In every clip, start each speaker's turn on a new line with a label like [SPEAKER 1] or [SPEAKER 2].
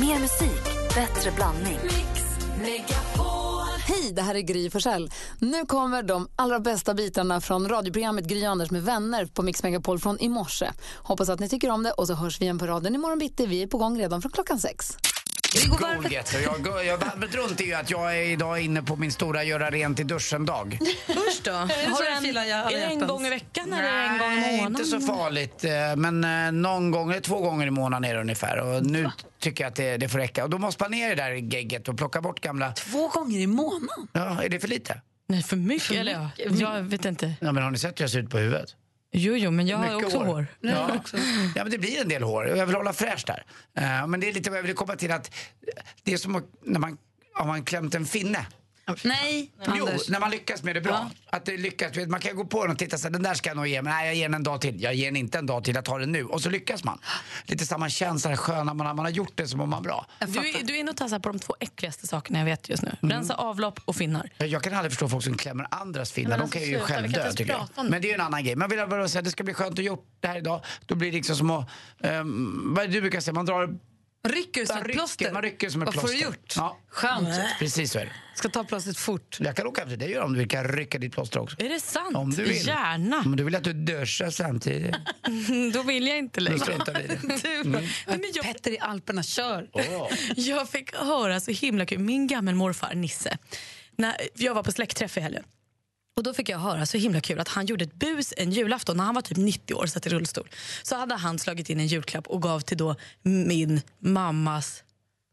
[SPEAKER 1] Mer musik, bättre blandning.
[SPEAKER 2] Hej, det här är Gry Forssell. Nu kommer de allra bästa bitarna från radioprogrammet Gry Anders med vänner på Mix Megapol från i morse. Hoppas att ni tycker om det och så hörs vi igen på raden imorgon bitti. Vi är på gång redan från klockan sex. Vi går varvet-
[SPEAKER 3] Golget. Jag, jag, jag, varvet runt är ju att jag är idag inne på min stora göra rent i duschen-dag.
[SPEAKER 4] Usch då. Har du en, är det en gång i veckan eller är det en gång i
[SPEAKER 3] Nej,
[SPEAKER 4] månaden?
[SPEAKER 3] inte så farligt. eh, Men eh, någon gång, eller två gånger i månaden är det ungefär. Och nu tycker jag att det, det får räcka. Och då måste man ner i det där gegget och plocka bort gamla...
[SPEAKER 4] Två gånger i månaden?
[SPEAKER 3] Ja, är det för lite?
[SPEAKER 5] Nej, för mycket. eller ja, jag vet inte.
[SPEAKER 3] Ja, men har ni sett hur jag ser ut på huvudet?
[SPEAKER 5] Jo, jo, men jag har också hår.
[SPEAKER 3] Ja. ja, men det blir en del hår. Jag vill hålla fräscht där. Eh, Men det är lite vad jag vill komma till att det är som att- när man har man klämt en finne.
[SPEAKER 4] Nej,
[SPEAKER 3] Jo,
[SPEAKER 4] Anders.
[SPEAKER 3] när man lyckas med det bra. Att det lyckas, vet, man kan gå på den och titta så här, den där ska jag nog ge, men nej jag ger den en dag till. Jag ger den inte en dag till, jag tar den nu. Och så lyckas man. Lite samma känsla, sköna, man, har- man har gjort det så mår man bra.
[SPEAKER 5] Du, är- du är inne och tassar på de två äckligaste sakerna jag vet just nu.
[SPEAKER 4] Mm.
[SPEAKER 5] Rensa avlopp och finnar.
[SPEAKER 3] Jag- Jag kan aldrig förstå folk som klämmer andras finnar,
[SPEAKER 5] Men
[SPEAKER 3] de
[SPEAKER 5] alltså,
[SPEAKER 3] kan ju
[SPEAKER 5] sluta, vi
[SPEAKER 3] själv
[SPEAKER 5] kan inte
[SPEAKER 3] dö
[SPEAKER 5] ens
[SPEAKER 3] tycker jag.
[SPEAKER 5] prata om det.
[SPEAKER 3] Men det är ju en annan grej. Men jag vill bara säga, det ska bli skönt att gjort det här idag. Då blir det liksom som att, um, vad är det du brukar säga, man drar
[SPEAKER 4] Rycker som
[SPEAKER 3] Man
[SPEAKER 4] ett
[SPEAKER 3] rycker-
[SPEAKER 4] plåster.
[SPEAKER 3] man rycker som ett
[SPEAKER 4] Vad får du
[SPEAKER 3] plåster.
[SPEAKER 4] gjort?
[SPEAKER 3] Ja.
[SPEAKER 4] Skönt.
[SPEAKER 3] Precis så är det.
[SPEAKER 4] Ska ta plåstret fort.
[SPEAKER 3] Jag kan åka efter dig om du vill. kan rycka ditt plåster också.
[SPEAKER 5] Är det sant?
[SPEAKER 3] Om du vill.
[SPEAKER 5] Gärna.
[SPEAKER 3] Om du vill att du duschar samtidigt.
[SPEAKER 5] Då vill jag inte
[SPEAKER 3] Då
[SPEAKER 5] längre.
[SPEAKER 3] struntar vi i det. Mm.
[SPEAKER 5] Du, nej, men jag,
[SPEAKER 4] Petter i Alperna, kör.
[SPEAKER 3] Åh.
[SPEAKER 5] jag fick höra så himla kul. Min gammelmorfar Nisse, när jag var på släktträff i helgen. Och då fick jag höra så himla kul att han gjorde ett bus en julafton när han var typ 90 år satt i rullstol. Så hade han slagit in en julklapp och gav till då min mammas,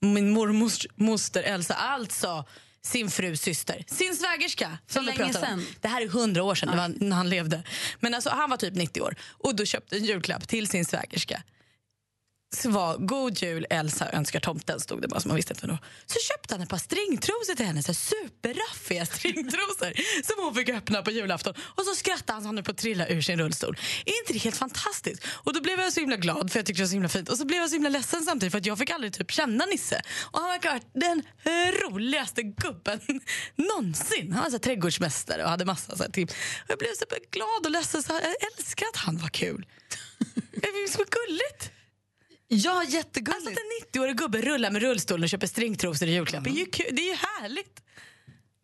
[SPEAKER 5] min mormors moster Elsa, alltså sin frus syster, sin svägerska. som vi
[SPEAKER 4] länge
[SPEAKER 5] pratade om.
[SPEAKER 4] sedan?
[SPEAKER 5] Det här är hundra år sedan det var när han levde. Men alltså, han var typ 90 år och då köpte en julklapp till sin svägerska så var God jul Elsa önskar tomten stod det bara så man visste inte vad det var. Så köpte han ett par stringtrosor till henne, så här superraffiga stringtrosor som hon fick öppna på julafton. Och så skrattade han så han höll på att trilla ur sin rullstol. Är inte det helt fantastiskt? Och då blev jag så himla glad för jag tyckte det var så himla fint och så blev jag så himla ledsen samtidigt för att jag fick aldrig typ känna Nisse. Och han verkar ha varit den roligaste gubben någonsin. Han var så här trädgårdsmästare och hade massa så här tips. Och jag blev så glad och ledsen så jag älskar att han var kul. Det är så gulligt.
[SPEAKER 4] Ja, jättegulligt.
[SPEAKER 5] Alltså att en 90-årig gubbe rullar med rullstolen och köper stringtrosor i julklapp. Det är ju kul. Det är ju härligt.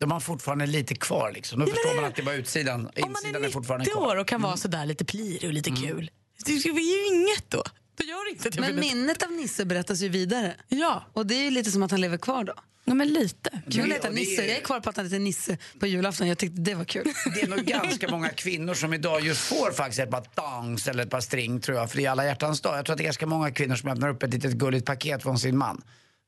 [SPEAKER 3] De har fortfarande lite kvar liksom. Då förstår man att det var utsidan.
[SPEAKER 5] Om man
[SPEAKER 3] Insidan är,
[SPEAKER 5] är
[SPEAKER 3] fortfarande
[SPEAKER 5] 90 år
[SPEAKER 3] kvar. Mm.
[SPEAKER 5] och kan vara sådär lite plirig och lite kul. Det är ju inget då. Då gör det inte att jag
[SPEAKER 4] Men
[SPEAKER 5] blir lite-
[SPEAKER 4] minnet av Nisse berättas ju vidare.
[SPEAKER 5] Ja.
[SPEAKER 4] Och det är ju lite som att han lever kvar då.
[SPEAKER 5] ja, men lite.
[SPEAKER 4] Kul
[SPEAKER 3] Det-
[SPEAKER 4] att heta
[SPEAKER 3] och det-
[SPEAKER 4] Nisse. Jag är kvar på att han heter Nisse på julafton. Jag tyckte det var kul.
[SPEAKER 3] Det är nog ganska många kvinnor som idag just får faktiskt ett par tangs eller ett par string tror jag. För det är alla hjärtans dag. Jag tror att det är ganska många kvinnor som öppnar upp ett litet gulligt paket från sin man.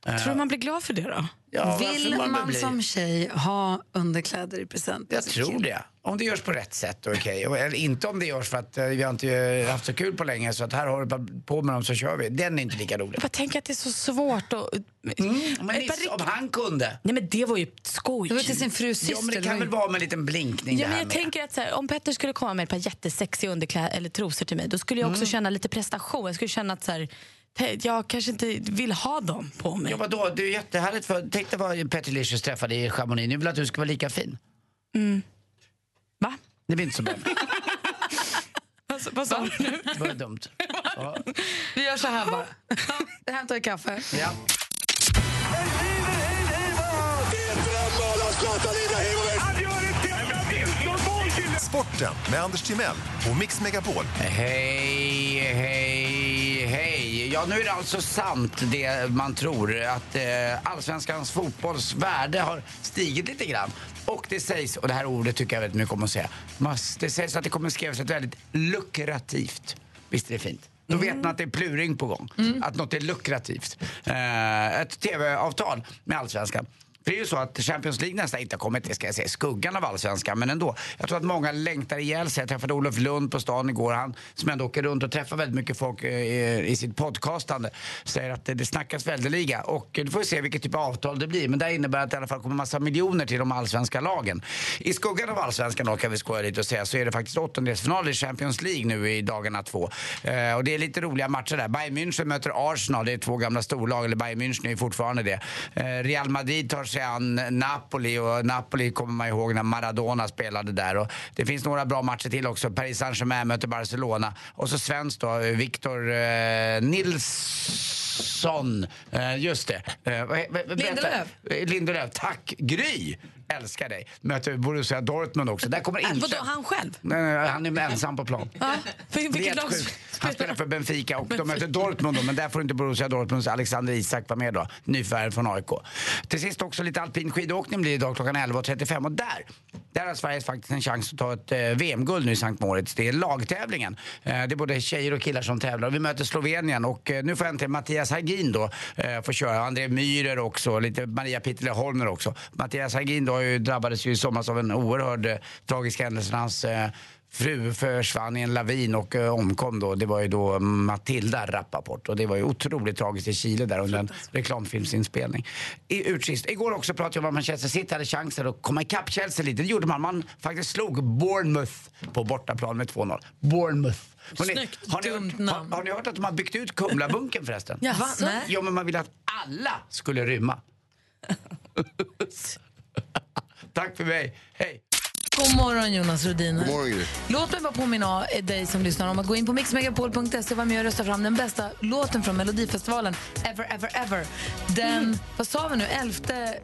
[SPEAKER 3] Eh,
[SPEAKER 5] Tror du man blir glad för det då?
[SPEAKER 3] Ja, varför
[SPEAKER 4] Vill
[SPEAKER 3] väl
[SPEAKER 4] man
[SPEAKER 3] bli?
[SPEAKER 4] som tjej ha underkläder i present?
[SPEAKER 3] Jag tror det. Om det görs på rätt sätt, okej. Och- Eller inte om det görs för att eh, vi har inte eh, haft så kul på länge så att här har du bara på med dem så kör vi. Den är inte lika rolig. Mm,
[SPEAKER 5] Jag bara tänker att det är så svårt att...
[SPEAKER 3] Men
[SPEAKER 5] Ett par
[SPEAKER 3] Nisse, om han kunde.
[SPEAKER 5] Nej men det var ju skoj.
[SPEAKER 4] Det var till sin frus syster.
[SPEAKER 3] Ja, men det
[SPEAKER 4] var
[SPEAKER 3] kan
[SPEAKER 4] ju-
[SPEAKER 3] väl vara med en liten blinkning
[SPEAKER 5] Ja,
[SPEAKER 3] det
[SPEAKER 5] men
[SPEAKER 3] här
[SPEAKER 5] jag
[SPEAKER 3] med.
[SPEAKER 5] tänker att så här, om Petter skulle komma med ett par jättesexiga underkläder eller trosor till mig då skulle jag
[SPEAKER 3] Mm.
[SPEAKER 5] också känna lite prestation. Jag skulle känna att så här, "Te- jag kanske inte vill ha dem på mig.
[SPEAKER 3] Ja, vadå? Det är ju jättehärligt. För, tänk dig vad Petter Licious träffade i Chamonix. Nu vill att du ska vara lika fin.
[SPEAKER 5] Mm. Va?
[SPEAKER 3] Det blir inte så bra.
[SPEAKER 5] vad sa du nu?
[SPEAKER 3] Det var ju dumt. Ja.
[SPEAKER 4] Vi gör så här bara. Jag hämtar kaffe.
[SPEAKER 3] Ja.
[SPEAKER 6] Sporten med Anders Timell och Mix Megapol.
[SPEAKER 3] Hej, hej, hej. Ja, nu är det alltså sant det man tror att eh, allsvenskans fotbolls värde har stigit lite grann. Och det sägs, och det här ordet tycker jag väldigt mycket om att säga, mas- det sägs att det kommer skrivas ett väldigt lukrativt. Visst är det fint? Då vet man att det är pluring på gång. Att något är lukrativt. Eh, ett tv-avtal med allsvenskan. För det är ju så att Champions League nästan inte har kommit, det ska jag säga, i skuggan av allsvenskan, men ändå. Jag tror att många längtar ihjäl sig. Jag träffade Olof Lund på stan igår, han som ändå åker runt och träffar väldigt mycket folk eh, i, i sitt podcastande, säger att det, det snackas väldeliga. Och eh, då får vi se vilket typ av avtal det blir, men det här innebär att det i alla fall kommer massa miljoner till de allsvenska lagen. I skuggan av allsvenskan då, kan vi skoja lite och säga, så är det faktiskt åttondelsfinal i Champions League nu i dagarna två. Eh, och det är lite roliga matcher där. Bayern München möter Arsenal, det är två gamla storlag, eller Bayern München är ju fortfarande det. Eh, Real Madrid tar sig an Napoli och Napoli kommer man ihåg när Maradona spelade där. Och det finns några bra matcher till också. Paris Saint-Germain möter Barcelona. Och så svensk då, Victor eh, Nils... Olsson. Eh, Just det. Eh, vad he- vad- berätta.
[SPEAKER 5] Lindelöf.
[SPEAKER 3] Eh, Lindelöf. Tack. Gry. Älskar dig. Möter Borussia Dortmund också. Där kommer inte...
[SPEAKER 5] Äh, Vadå, han själv?
[SPEAKER 3] Nej, nej, han är ensam på plan.
[SPEAKER 5] Ja, för
[SPEAKER 3] Det är
[SPEAKER 5] vilket
[SPEAKER 3] helt
[SPEAKER 5] lag
[SPEAKER 3] sjukt. Han spelar
[SPEAKER 5] spelar
[SPEAKER 3] för Benfica och de möter Dortmund då, men där får inte Borussia Dortmunds Alexander Isak vara med då. Nyförvärv från AIK. Till sist också lite alpin skidåkning blir idag klockan 11.35 och där, där har Sverige faktiskt en chans att ta ett eh, VM-guld nu i Sankt Moritz. Det är lagtävlingen. Eh, det är både tjejer och killar som tävlar och vi möter Slovenien och eh, nu får äntligen Mattias Hagin då eh, få köra. André Myhrer också, lite Maria Pittelö Holmer också. Mattias Hagin då har ju, drabbades ju i somras av en oerhörd eh, tragisk händelse. när Hans eh, fru försvann i en lavin och eh, omkom då. Det var ju då Matilda Rappaport och det var ju otroligt tragiskt i Chile där under en reklamfilmsinspelning. I utsist. Igår också pratade jag om att Manchester City hade chansen att komma ikapp Chelsea lite. Det gjorde man. Man faktiskt slog Bournemouth på bortaplan med 2-0. Bournemouth. Har
[SPEAKER 4] Snyggt,
[SPEAKER 3] har, ni
[SPEAKER 4] dumt
[SPEAKER 3] hört,
[SPEAKER 4] namn.
[SPEAKER 3] har, har ni hört att de har byggt ut Kumlabunken förresten?
[SPEAKER 4] Jaså? Nej.
[SPEAKER 3] Jo, men man ville att alla skulle rymma. Tack för mig. Hej!
[SPEAKER 7] God morgon Jonas Rhodiner.
[SPEAKER 8] morgon, Gry.
[SPEAKER 7] Låt mig bara påminna dig som lyssnar om att gå in på mixmegapol.se och vara med och rösta fram den bästa låten från Melodifestivalen, Ever, Ever, Ever. Den,
[SPEAKER 3] Mm.
[SPEAKER 7] vad sa vi nu, 11,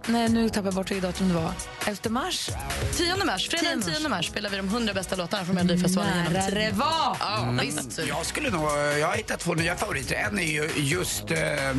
[SPEAKER 7] nej nu tappar jag bort vilket datum det var, 11 mars?
[SPEAKER 5] 10 mars, fredag den 10 mars spelar vi de 100 bästa låtarna från Melodifestivalen genom
[SPEAKER 7] Nära
[SPEAKER 5] tiden.
[SPEAKER 7] det var!
[SPEAKER 5] Ja, visst.
[SPEAKER 3] Mm. Jag skulle nog, jag har hittat två nya favoriter. En är ju just, eh,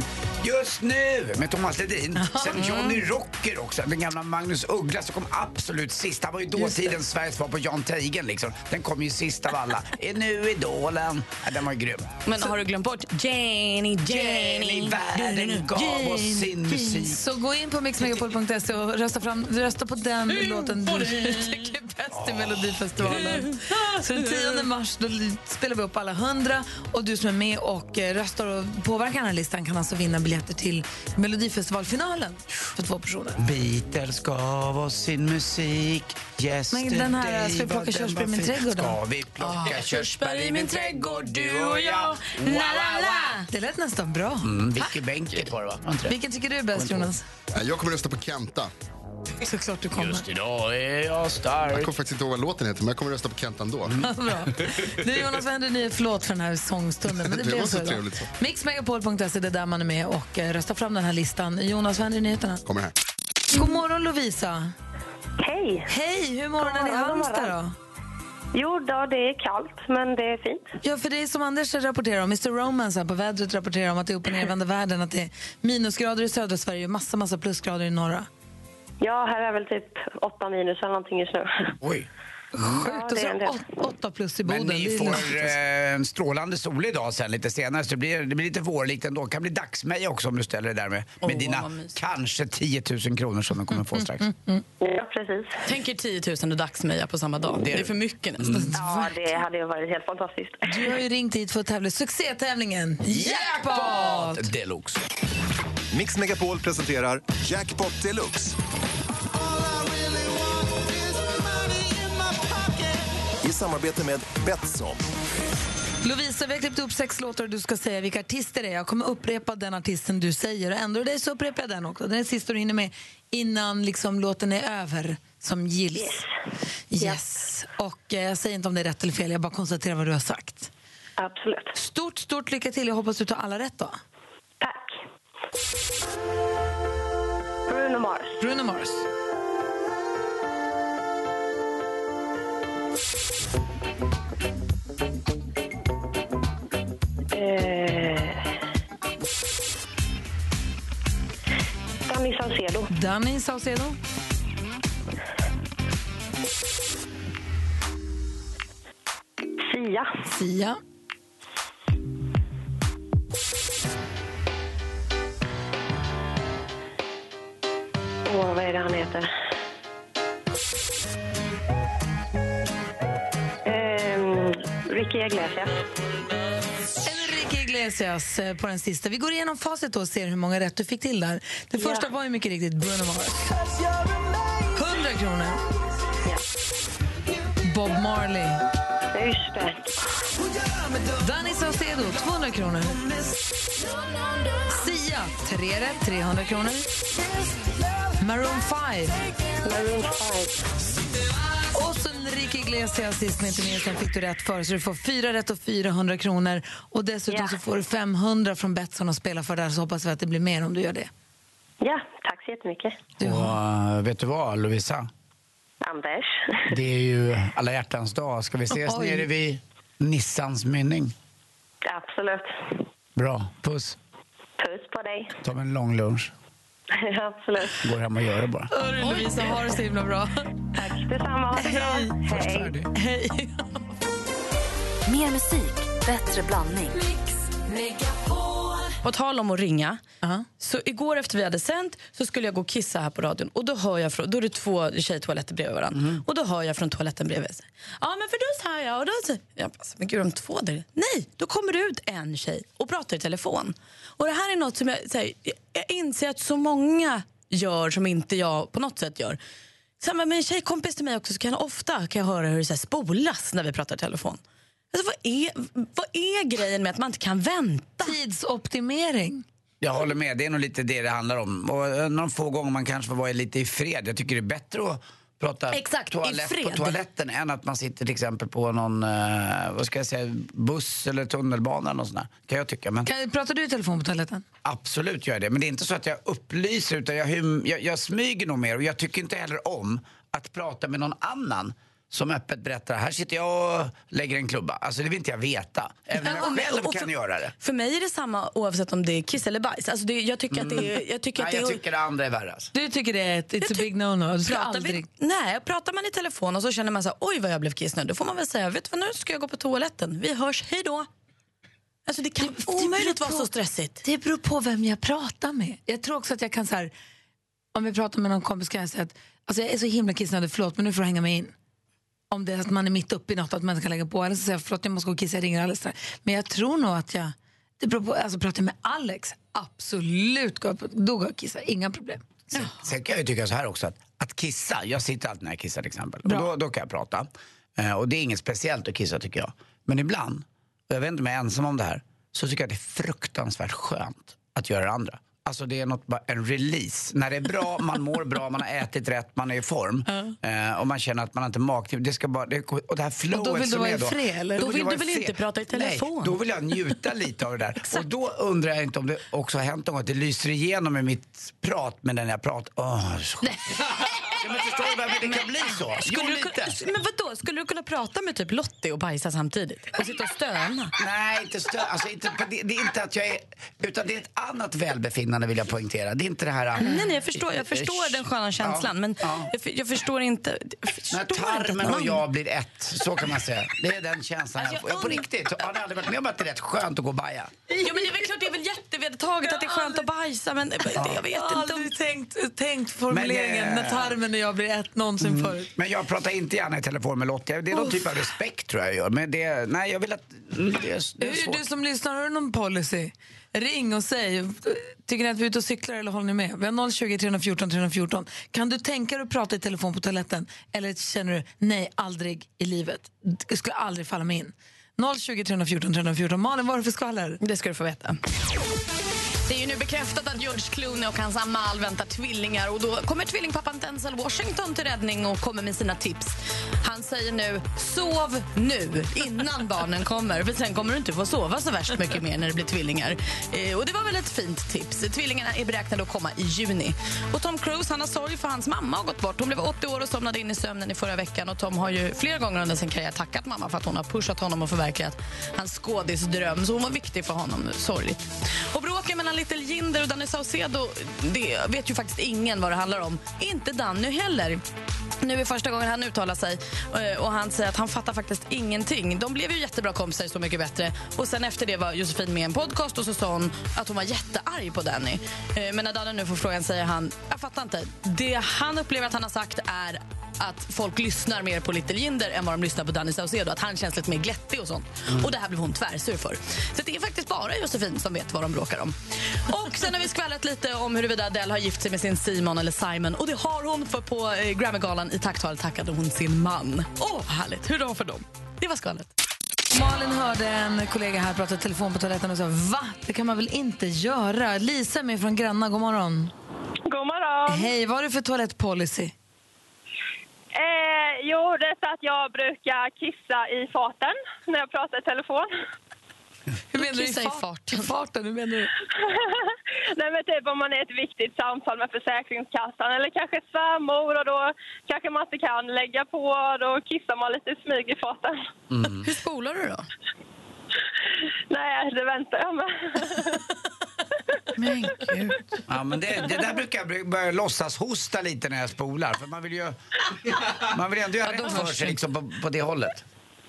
[SPEAKER 3] just nu med Thomas Ledin. Sen Johnny Rocker också, den gamla Magnus Uggla som kom absolut sist. Han var ju dåtidens Sveriges svar på Jan Teigen liksom. Den kom ju sist av alla. Är nu idolen. Ja, den var ju grym.
[SPEAKER 5] Men har du glömt bort Jenny,
[SPEAKER 3] Jenny,
[SPEAKER 5] Jenny,
[SPEAKER 3] världen gav oss sin musik.
[SPEAKER 7] Så gå in på mixmegapol.se och rösta, fram, rösta på den låten du tycker är bäst i Melodifestivalen. Så den 10 mars då li- spelar vi upp alla hundra och du som är med och eh, röstar och påverkar den här listan kan alltså vinna biljetter till Melodifestivalfinalen för två personer.
[SPEAKER 3] Beatles gav oss sin musik Yesterday
[SPEAKER 7] Men den här, ska vi plocka
[SPEAKER 3] var den
[SPEAKER 7] körsbär i
[SPEAKER 3] var
[SPEAKER 7] min
[SPEAKER 3] fin.
[SPEAKER 7] trädgård
[SPEAKER 3] Ska
[SPEAKER 7] då?
[SPEAKER 3] vi plocka körsbär i min trädgård, du och jag? Wow, wow, wow.
[SPEAKER 7] Det lät nästan bra.
[SPEAKER 3] Mm, Vicky Benckert var det va? Var inte det?
[SPEAKER 7] Vilken tycker du är bäst, Jonas?
[SPEAKER 8] Ja, Jag kommer rösta på Kenta.
[SPEAKER 7] Såklart du kommer.
[SPEAKER 3] Just idag är jag
[SPEAKER 8] Jag
[SPEAKER 3] stark.
[SPEAKER 8] kommer faktiskt inte ihåg vad låten heter, men jag kommer rösta på Kenta ändå.
[SPEAKER 7] Bra. Nu Jonas, vad händer nu? Förlåt för den här sångstunden. Men det,
[SPEAKER 8] Det
[SPEAKER 7] blev
[SPEAKER 8] var så
[SPEAKER 7] idag.
[SPEAKER 8] trevligt så.
[SPEAKER 7] Mixmegapol.se, det är där man är med och eh, röstar fram den här listan. Jonas, vad händer i nyheterna?
[SPEAKER 8] Kommer här.
[SPEAKER 7] God morgon Lovisa!
[SPEAKER 9] Hej!
[SPEAKER 7] Hej, hur är morgonen i
[SPEAKER 9] God morgon,
[SPEAKER 7] Halmstad
[SPEAKER 9] god
[SPEAKER 7] då?
[SPEAKER 9] Jo då, det är kallt, men det är fint.
[SPEAKER 7] Ja, för det är som Anders rapporterar om, Mr Romance här på vädret rapporterar om att det är upp och nervända världen, att det är minusgrader i södra Sverige och massa, massa plusgrader i norra.
[SPEAKER 9] Ja, här är väl typ 8 minus eller någonting just nu.
[SPEAKER 3] Oj.
[SPEAKER 9] Ja,
[SPEAKER 7] Sjukt, och
[SPEAKER 9] det är en del.
[SPEAKER 7] så åt- åtta plus i
[SPEAKER 3] Men
[SPEAKER 7] Boden. Det
[SPEAKER 3] ni
[SPEAKER 7] är
[SPEAKER 3] får
[SPEAKER 7] lustigt.
[SPEAKER 3] eh, en strålande sol idag sen lite senare så det blir, det blir lite vårligt ändå. Det kan bli dagsmeja också om du ställer dig där med, med
[SPEAKER 5] Åh,
[SPEAKER 3] dina
[SPEAKER 5] vad mysigt. Mm,
[SPEAKER 3] kanske 10 000 kronor som du kommer få strax.
[SPEAKER 9] Ja, precis.
[SPEAKER 5] Tänker 10 000 och dagsmeja på samma dag. Det är för mycket nästan.
[SPEAKER 9] Ja, det hade ju varit helt fantastiskt.
[SPEAKER 7] Du har ju ringt hit för att tävla i succétävlingen Jackpot!
[SPEAKER 3] Deluxe.
[SPEAKER 6] Mix Megapol presenterar Jackpot Deluxe. I samarbete med Betsson.
[SPEAKER 7] Lovisa, vi har klippt upp sex låtar och du ska säga vilka artister det är. Jag kommer upprepa den artisten du säger och ändrar dig så upprepar jag den också. Den är sista du hinner med innan liksom låten är över som gills. Yes. Och eh, jag säger inte om det är rätt eller fel, jag bara konstaterar vad du har sagt.
[SPEAKER 9] Absolut.
[SPEAKER 7] Stort, stort lycka till. Jag hoppas du tar alla rätt då.
[SPEAKER 9] Tack. Bruno Mars.
[SPEAKER 7] Bruno Mars.
[SPEAKER 9] Eh... Danny Saucedo.
[SPEAKER 7] Danny Saucedo.
[SPEAKER 9] Sia.
[SPEAKER 7] Sia.
[SPEAKER 9] Åh, vad är det han heter? Ehm, Ricky Iglesias.
[SPEAKER 7] Enrique Iglesias eh, på den sista. Vi går igenom facit då och ser hur många rätt du fick till där. Det första var ju mycket riktigt Bruno Mars. 100 kronor. Bob Marley.
[SPEAKER 9] Ja, just det.
[SPEAKER 7] Danny Saucedo, 200 kronor. Sia, 3 rätt, 300 kronor. Maroon 5.
[SPEAKER 9] Maroon 5.
[SPEAKER 7] Och också Enrique Iglesias sist men inte minst. Den fick du rätt för. Så du får fyra rätt och 400 kronor. Och dessutom
[SPEAKER 9] Ja.
[SPEAKER 7] så får du 500 från Betsson att spela för där. Så hoppas vi att det blir mer om du gör det.
[SPEAKER 9] Ja, tack så jättemycket.
[SPEAKER 5] mm,
[SPEAKER 3] Och, eh, vet du vad, Lovisa?
[SPEAKER 9] Anders.
[SPEAKER 3] Det är ju alla hjärtans dag. Ska vi ses
[SPEAKER 7] Oj.
[SPEAKER 3] nere vid Nissans mynning?
[SPEAKER 9] Absolut.
[SPEAKER 3] Bra. Puss.
[SPEAKER 9] Puss på dig.
[SPEAKER 3] Ta en lång lunch.
[SPEAKER 9] Absolut.
[SPEAKER 3] Går hem och gör det bara.
[SPEAKER 7] Hörru Lovisa, ha det så himla bra.
[SPEAKER 9] Tack detsamma. Ha det bra. Hej.
[SPEAKER 3] Färdig.
[SPEAKER 1] Mer musik, bättre blandning.
[SPEAKER 5] På tal om att ringa. Så igår efter vi hade sänt så skulle jag gå och kissa här på radion. Och då, hör jag från, då är det två tjejtoaletter bredvid varandra. Och då hör jag från toaletten bredvid. så här, Ja, men för då sa jag... Och då, sa-" jag bara, men gud, de två där Nej, då kommer det ut en tjej och pratar i telefon. Och det här är något som jag, så här, jag- jag inser att så många gör som inte jag på något sätt gör. Samma med en tjejkompis till mig också så kan jag ofta kan jag höra hur det så här spolas när vi pratar i telefon. Alltså, vad, är, vad är grejen med att man inte kan vänta?
[SPEAKER 7] Tidsoptimering.
[SPEAKER 3] Jag håller med, det är nog lite det det handlar om. Och eh, någon få gånger man kanske får vara lite i fred. Jag tycker det är bättre att prata
[SPEAKER 5] Exakt, i
[SPEAKER 3] toalett på
[SPEAKER 5] fred.
[SPEAKER 3] toaletten än att man sitter till exempel på någon, eh, vad ska jag säga, buss eller tunnelbana eller något sånt där. Kan jag tycka. Men
[SPEAKER 7] Kan, pratar du i telefon på toaletten?
[SPEAKER 3] absolut gör jag det. Men det är inte så att jag upplyser utan jag, hum, jag, jag smyger nog mer. Och jag tycker inte heller om att prata med någon annan som öppet berättar, här sitter jag och lägger en klubba. Alltså det vill inte jag veta. Även om
[SPEAKER 5] Ja, och
[SPEAKER 3] jag
[SPEAKER 5] med-
[SPEAKER 3] själv
[SPEAKER 5] och
[SPEAKER 3] kan
[SPEAKER 5] för-
[SPEAKER 3] göra det.
[SPEAKER 5] För mig är det samma oavsett om det är kiss eller bajs. Alltså det, jag tycker att det är... Jag tycker att
[SPEAKER 3] Nej,
[SPEAKER 5] det
[SPEAKER 3] jag
[SPEAKER 5] är
[SPEAKER 3] tycker det andra är värre alltså.
[SPEAKER 7] Du tycker det är ett it's a big no-no. Du ska
[SPEAKER 5] pratar,
[SPEAKER 7] aldrig...
[SPEAKER 5] vi, nej, pratar man i telefon och så känner man så här, oj vad jag blev kissnödig. Då får man väl säga, vet du vad, nu ska jag gå på toaletten. Vi hörs, hej då. Alltså det kan omöjligt vara så stressigt.
[SPEAKER 7] Det beror på vem jag pratar med. Jag tror också att jag kan så här, om vi pratar med någon kompis kan jag säga att alltså jag är så himla kissnödig, förlåt men nu får du hänga mig in. Om det är att man är mitt uppe i något, att man inte kan lägga på. Eller så säger jag förlåt jag måste gå och kissa, jag ringer alldeles strax. Men jag tror nog att jag, det beror på, alltså pratar jag med Alex, absolut, gå upp, då går jag och kissar, inga problem.
[SPEAKER 3] Sen, sen kan jag ju tycka så här också att, att kissa, jag sitter alltid när jag kissar till exempel. Och då, då kan jag prata. Eh, och det är inget speciellt att kissa tycker jag. Men ibland, och jag vet inte om jag är ensam om det här, så tycker jag att det är fruktansvärt skönt att göra det andra. Alltså det är något, bara en release. När det är bra, man mår bra, man har ätit rätt, man är i form. Eh, och man känner att man inte har magknip. Det ska bara, det, och det här flowet
[SPEAKER 7] vill du
[SPEAKER 3] som
[SPEAKER 7] vara
[SPEAKER 3] är
[SPEAKER 7] i fred, eller?
[SPEAKER 5] Då vill
[SPEAKER 3] jag vara
[SPEAKER 5] du väl
[SPEAKER 3] fred.
[SPEAKER 5] inte prata i telefon?
[SPEAKER 3] Nej, då vill jag njuta lite av det där. och då undrar jag inte om det också har hänt något, att det lyser igenom i mitt prat med den jag pratar. Åh, så skönt. ja, men förstår du varför det kan bli så? Jo,
[SPEAKER 5] Skulle du,
[SPEAKER 3] lite.
[SPEAKER 5] kunna- men vadå, skulle du kunna prata med typ Lottie och bajsa samtidigt? Och sitta och stöna?
[SPEAKER 3] Nej, inte stö- alltså, inte, på det, det är inte att jag är... Utan det är ett annat välbefinnande vill jag poängtera. Det är inte det här... äh,
[SPEAKER 5] Nej, nej, jag förstår, jag förstår den sköna känslan, men
[SPEAKER 3] ja.
[SPEAKER 5] jag, för- jag förstår inte... Jag förstår
[SPEAKER 3] När
[SPEAKER 5] inte att
[SPEAKER 3] tarmen och
[SPEAKER 5] man-
[SPEAKER 3] jag blir ett, så kan man säga. Det är den känslan
[SPEAKER 5] Alltså,
[SPEAKER 3] jag får.
[SPEAKER 5] jag
[SPEAKER 3] Jag på
[SPEAKER 5] und-
[SPEAKER 3] riktigt, har ni aldrig varit med om att det är rätt skönt att gå och baja?
[SPEAKER 5] Ja, men det är väl klart, det är väl jättevedertaget att det är skönt att bajsa, men jag vet
[SPEAKER 7] Jag har
[SPEAKER 5] inte om...
[SPEAKER 7] aldrig tänkt, tänkt formuleringen
[SPEAKER 3] Men det-
[SPEAKER 7] när tarmen och jag blir ett någonsin förut.
[SPEAKER 3] Mm.
[SPEAKER 7] Oh.
[SPEAKER 3] Men jag pratar inte gärna i telefon med Lottie. Det är någon typ av respekt tror jag jag gör. Men det, nej jag vill att... mm, Det är, det är
[SPEAKER 7] Hur,
[SPEAKER 3] svårt.
[SPEAKER 7] du som lyssnar, har du någon policy? Ring och säg, tycker ni att vi är ute och cyklar eller håller ni med? Vi har 020 314 314. Kan du tänka dig att prata i telefon på toaletten eller känner du, nej, aldrig i livet. Det skulle aldrig falla mig in. 020 314 314. Malin, vad har du för skvaller?
[SPEAKER 5] Det ska du få veta. Det är ju nu bekräftat att George Clooney och hans Amal väntar tvillingar och då kommer tvillingpappan Denzel Washington till räddning och kommer med sina tips. Han säger nu sov nu innan barnen kommer för sen kommer du inte få sova så värst mycket mer när det blir tvillingar. Eh, och det var väl ett fint tips. Tvillingarna är beräknade att komma i juni. Och Tom Cruise han har sorg för hans mamma har gått bort. Hon blev 80 år och somnade in i sömnen i förra veckan och Tom har ju flera gånger under sin karriär tackat mamma för att hon har pushat honom och förverkligat hans skådisdröm så hon var viktig för honom. Sorgligt. Och bråken mellan Little Jinder och Danny Saucedo det vet ju faktiskt ingen vad det handlar om. Inte Danny heller. Nu är första gången han uttalar sig eh, och han säger att han fattar faktiskt ingenting. De blev ju jättebra kompisar Så mycket bättre. Och sen efter det var Josefin med i en podcast och så sa hon att hon var jättearg på Danny. Eh, Men när Danny nu får frågan säger han, jag fattar inte. Det han upplever att han har sagt är att folk lyssnar mer på Little Jinder än vad de lyssnar på Danny Saucedo. Att han känns lite mer glättig och sånt. Och det här blev hon tvärsur för. Så det är faktiskt bara Josefin som vet vad de bråkar om. Och sen har vi skvallrat lite om huruvida Adele har gift sig med sin Simon eller Simon. Och det har hon för på eh, Grammygalan i tacktal tackade hon sin man. Åh, vad härligt. Hurra för dem. Det var skvallret.
[SPEAKER 7] Malin hörde en kollega här prata i telefon på toaletten och sa, va? Det kan man väl inte göra? Lisa är med från Granna, god morgon.
[SPEAKER 9] God morgon.
[SPEAKER 7] Hej, vad har du för toalettpolicy?
[SPEAKER 9] Eh, jo, det är för att jag brukar kissa i farten när jag pratar i telefon.
[SPEAKER 7] Hur menar du? I
[SPEAKER 5] Kissa i
[SPEAKER 7] fart- i farten? Hur menar du?
[SPEAKER 9] Nej, men typ om man är ett viktigt samtal med Försäkringskassan eller kanske svärmor och då kanske man inte kan lägga på och då kissar man lite i smyg i farten.
[SPEAKER 5] Hur spolar du då?
[SPEAKER 9] Nej, det väntar jag med.
[SPEAKER 5] Men gud.
[SPEAKER 3] Ja, men det, det där brukar jag bry- börja låtsas hosta lite när jag spolar. För man vill ju man vill ändå göra rätt för sig liksom, på, på det hållet.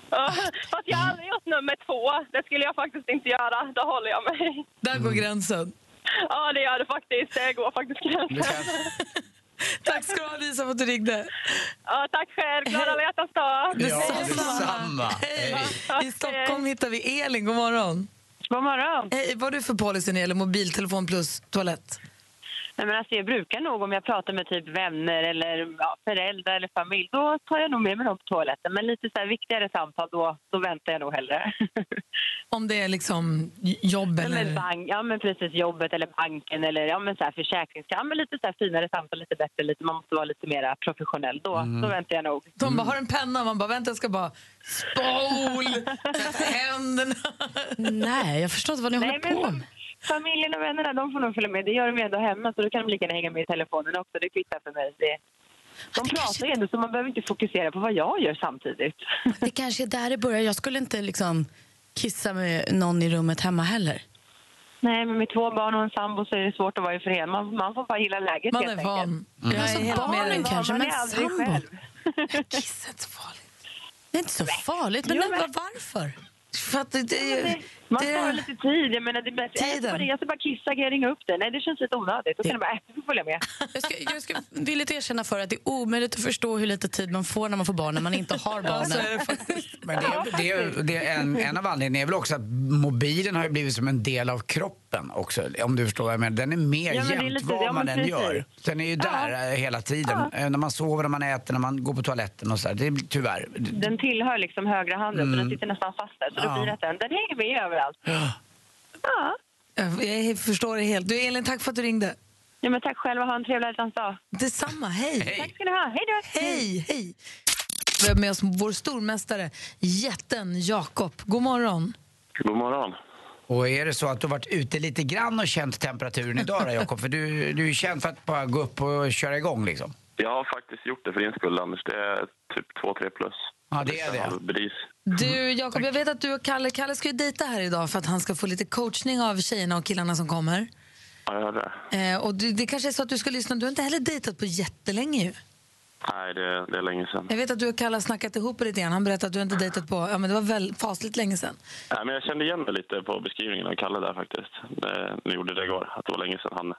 [SPEAKER 9] Ja, Fast jag har aldrig gjort nummer två. Det skulle jag faktiskt inte göra. Då håller jag mig.
[SPEAKER 7] Där
[SPEAKER 3] Mm.
[SPEAKER 7] går gränsen.
[SPEAKER 9] Ja, det gör det faktiskt. Det går faktiskt
[SPEAKER 3] Du
[SPEAKER 9] gränsen.
[SPEAKER 3] kan,
[SPEAKER 7] Tack ska du ha, Lisa, för att du ringde.
[SPEAKER 9] Ja, tack själv. Glad alla hjärtans dag.
[SPEAKER 3] ja, detsamma. Hej.
[SPEAKER 7] I Stockholm hittar vi Elin. God morgon.
[SPEAKER 9] God morgon.
[SPEAKER 7] Hej, vad har du för policy när det gäller mobiltelefon plus toalett?
[SPEAKER 9] Nej, men alltså, jag brukar nog om jag pratar med typ vänner eller ja, föräldrar eller familj, då tar jag nog med mig dem på toaletten. Men lite så här viktigare samtal, då, då väntar jag nog hellre.
[SPEAKER 7] Om det är liksom j- jobb
[SPEAKER 9] Eller
[SPEAKER 7] eller...
[SPEAKER 9] bank, ja, men precis jobbet eller banken eller ja, men så här försäkringskassan. Ja, men lite så här finare samtal, lite bättre, lite, man måste vara lite mer professionell. Då,
[SPEAKER 5] Mm.
[SPEAKER 9] då väntar jag nog.
[SPEAKER 7] De
[SPEAKER 3] Mm.
[SPEAKER 7] bara, har en penna? Man bara, vänta jag ska bara... Spol! Tvätta händerna!
[SPEAKER 5] Nej, jag förstår inte vad ni
[SPEAKER 9] Nej,
[SPEAKER 5] håller
[SPEAKER 9] men
[SPEAKER 5] på
[SPEAKER 9] fam-
[SPEAKER 5] med.
[SPEAKER 9] familjen och vännerna de får nog följa med. Det gör de ju ändå hemma, så då kan de lika gärna hänga med i telefonen också. Det kvittar för mig. Det, de pratar ju ändå, så man behöver inte fokusera på vad jag gör samtidigt.
[SPEAKER 5] Det kanske är där det börjar. Jag skulle inte liksom kissa med någon i rummet hemma heller.
[SPEAKER 9] Nej, men med två barn och en sambo så är det svårt att vara i fred. Man, man får bara gilla läget
[SPEAKER 7] Man
[SPEAKER 9] helt
[SPEAKER 7] är
[SPEAKER 9] enkelt.
[SPEAKER 7] van.
[SPEAKER 5] Mm. Alltså, barnen kanske,
[SPEAKER 9] man
[SPEAKER 5] men
[SPEAKER 9] är aldrig
[SPEAKER 5] sambo.
[SPEAKER 9] själv.
[SPEAKER 7] Kiss är inte farligt.
[SPEAKER 5] Det är inte så farligt. Men,
[SPEAKER 9] Jo,
[SPEAKER 5] men
[SPEAKER 9] men-
[SPEAKER 5] varför?
[SPEAKER 7] För att det, det, är ju-
[SPEAKER 9] Man
[SPEAKER 7] det,
[SPEAKER 9] sparar lite tid. Jag menar, det är bäst. Jag ska
[SPEAKER 7] Tiden.
[SPEAKER 9] bara ringa, jag ska bara kissa, kan jag ringa upp dig? Nej, det känns lite onödigt. Då kan jag bara, äh, du får följa med.
[SPEAKER 5] Jag ska, jag ska villigt erkänna för att det är omöjligt att förstå hur lite tid man får när man får barn när man inte har barnen.
[SPEAKER 3] Men det, det, det är en, en av anledningarna är väl också att mobilen har ju blivit som en del av kroppen också. Om du förstår vad jag menar. Den är mer
[SPEAKER 9] Ja, men det är
[SPEAKER 3] jämt
[SPEAKER 9] lite-
[SPEAKER 3] vad
[SPEAKER 9] ja,
[SPEAKER 3] man
[SPEAKER 9] men
[SPEAKER 3] än
[SPEAKER 9] precis.
[SPEAKER 3] gör. Den är ju där eh, hela tiden. Eh, När man sover, när man äter, när man går på toaletten och sådär. Det är tyvärr.
[SPEAKER 9] Den tillhör liksom högra handen, så den sitter nästan fast där. Så
[SPEAKER 3] Mm. Ja.
[SPEAKER 9] då blir det att den, den hänger med överallt. Ja.
[SPEAKER 7] jag, jag förstår det helt. Du, Elin, tack för att du ringde.
[SPEAKER 9] ja, men tack själv och ha en trevlig hjärtans dag.
[SPEAKER 7] Detsamma, hej!
[SPEAKER 9] Tack ska ni ha. Hej då!
[SPEAKER 7] Hej, hej! Vi har med oss vår stormästare, jätten Jakob. God morgon.
[SPEAKER 10] God morgon.
[SPEAKER 3] Och är det så att du har varit ute lite grann och känt temperaturen idag då, Jakob? För du, du är känd för att bara gå upp och köra igång liksom.
[SPEAKER 10] Jag har faktiskt gjort det för din skull, Anders. Det är typ 2-3 plus. Liksom.
[SPEAKER 3] Ja, det är det.
[SPEAKER 10] Halvbris.
[SPEAKER 7] Du, Jakob, jag vet att du och Kalle, Kalle ska ju dejta här idag för att han ska få lite coachning av tjejerna och killarna som kommer.
[SPEAKER 10] Ja, jag hörde det.
[SPEAKER 7] Eh, och du, det kanske är så att du ska lyssna. Du har inte heller dejtat på jättelänge ju.
[SPEAKER 10] Nej, det, det är länge sedan.
[SPEAKER 7] Jag vet att du och Kalle har snackat ihop er lite grann. Han berättade att du inte dejtat på, ja men det var väl fasligt länge sedan.
[SPEAKER 10] Nej, men jag kände igen mig lite på beskrivningen av Kalle där faktiskt. Eh, Ni gjorde det igår, att det var länge sedan han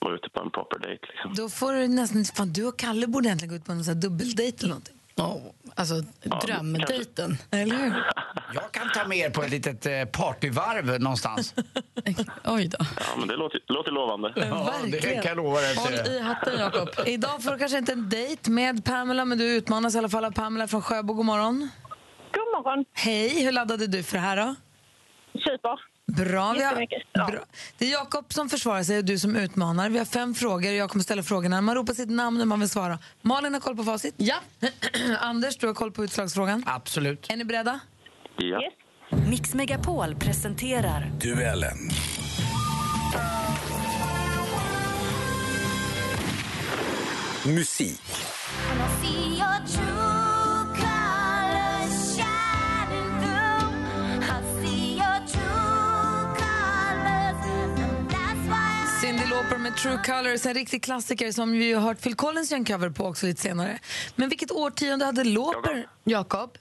[SPEAKER 10] var ute på en proper date. Liksom.
[SPEAKER 7] Då får du nästan, fan du och Kalle borde egentligen gå ut på en sån här dubbeldejt eller någonting.
[SPEAKER 5] Oh, alltså, drömdejten.
[SPEAKER 7] Eller hur?
[SPEAKER 3] Jag kan ta med er på ett litet eh, partyvarv någonstans.
[SPEAKER 5] Oj då.
[SPEAKER 10] Ja, men det låter, låter lovande.
[SPEAKER 7] Verkligen.
[SPEAKER 3] jag lova dig.
[SPEAKER 7] Håll i hatten Jakob. Idag får du kanske inte en dejt med Pamela, men du utmanas i alla fall av Pamela från Sjöbo. God morgon.
[SPEAKER 9] God morgon.
[SPEAKER 7] Hej, hur laddade du för det här då?
[SPEAKER 9] Super.
[SPEAKER 7] Bra. Vi har,
[SPEAKER 9] Jättemycket, ja.
[SPEAKER 7] bra. Det är Jakob som försvarar sig och du som utmanar. Vi har fem frågor och jag kommer ställa frågorna. Man ropar sitt namn om man vill svara. Malin har koll på facit. Ja. Anders, du har koll på utslagsfrågan.
[SPEAKER 3] Absolut.
[SPEAKER 7] Är ni beredda?
[SPEAKER 10] Ja.
[SPEAKER 9] Yes.
[SPEAKER 1] Mix Megapol presenterar
[SPEAKER 7] Cyndi Lauper med True Colors, en riktig klassiker som vi har hört Phil Collins göra en cover på också lite senare. Men vilket årtionde hade Lauper?
[SPEAKER 5] Jakob?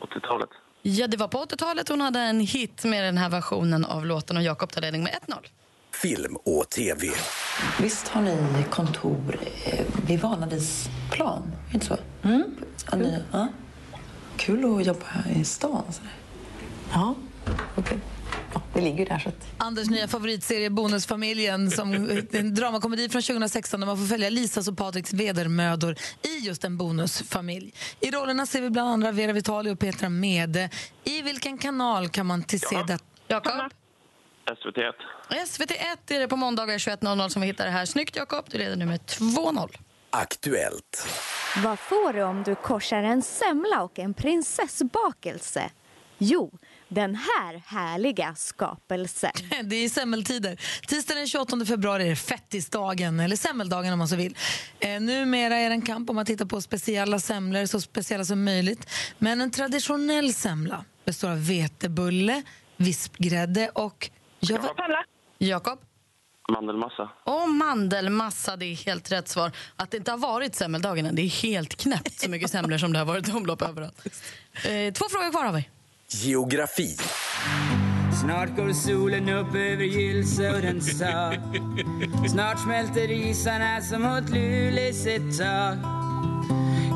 [SPEAKER 10] 80-talet.
[SPEAKER 5] Ja, det var på 80-talet hon hade en hit med den här versionen av låten och Jakob tar ledning med 1-0.
[SPEAKER 11] Film och tv.
[SPEAKER 4] Visst har ni kontor eh, vid Vanadisplan? Är det inte så? Mm. Ni, ja. Kul att jobba här i stan. Så där. Ja, okej. Ja, det ligger ju där. Så att...
[SPEAKER 7] Anders nya favoritserie Bonusfamiljen, som en dramakomedi från 2016 där man får följa Lisas och Patriks vedermödor i just en bonusfamilj. I rollerna ser vi bland andra Vera Vitali och Petra Mede. I vilken kanal kan man till se det?
[SPEAKER 5] Jakob?
[SPEAKER 10] SVT1.
[SPEAKER 5] SVT1 är det på måndagar 21.00 som vi hittar det här. Snyggt Jakob, du leder nu med 2-0.
[SPEAKER 11] Aktuellt.
[SPEAKER 12] Vad får du om du korsar en semla och en prinsessbakelse? Jo, den här härliga skapelse.
[SPEAKER 7] Det är semmeltider. Tisdagen den 28 februari är det fettisdagen, eller semmeldagen om man så vill. Eh, numera är det en kamp om att titta på speciella semlor, så speciella som möjligt. Men en traditionell semla består av vetebulle, vispgrädde och... Jag... Jakob?
[SPEAKER 10] Mandelmassa.
[SPEAKER 5] Och mandelmassa, det är helt rätt svar. Att det inte har varit semmeldagen än, det är helt knäppt så mycket semlor som det har varit i omlopp överallt. Eh, två frågor kvar har vi.
[SPEAKER 11] Geografi.
[SPEAKER 13] Snart går solen upp över Gylse och den sa Snart smälter isarna som åt Luleås ett tak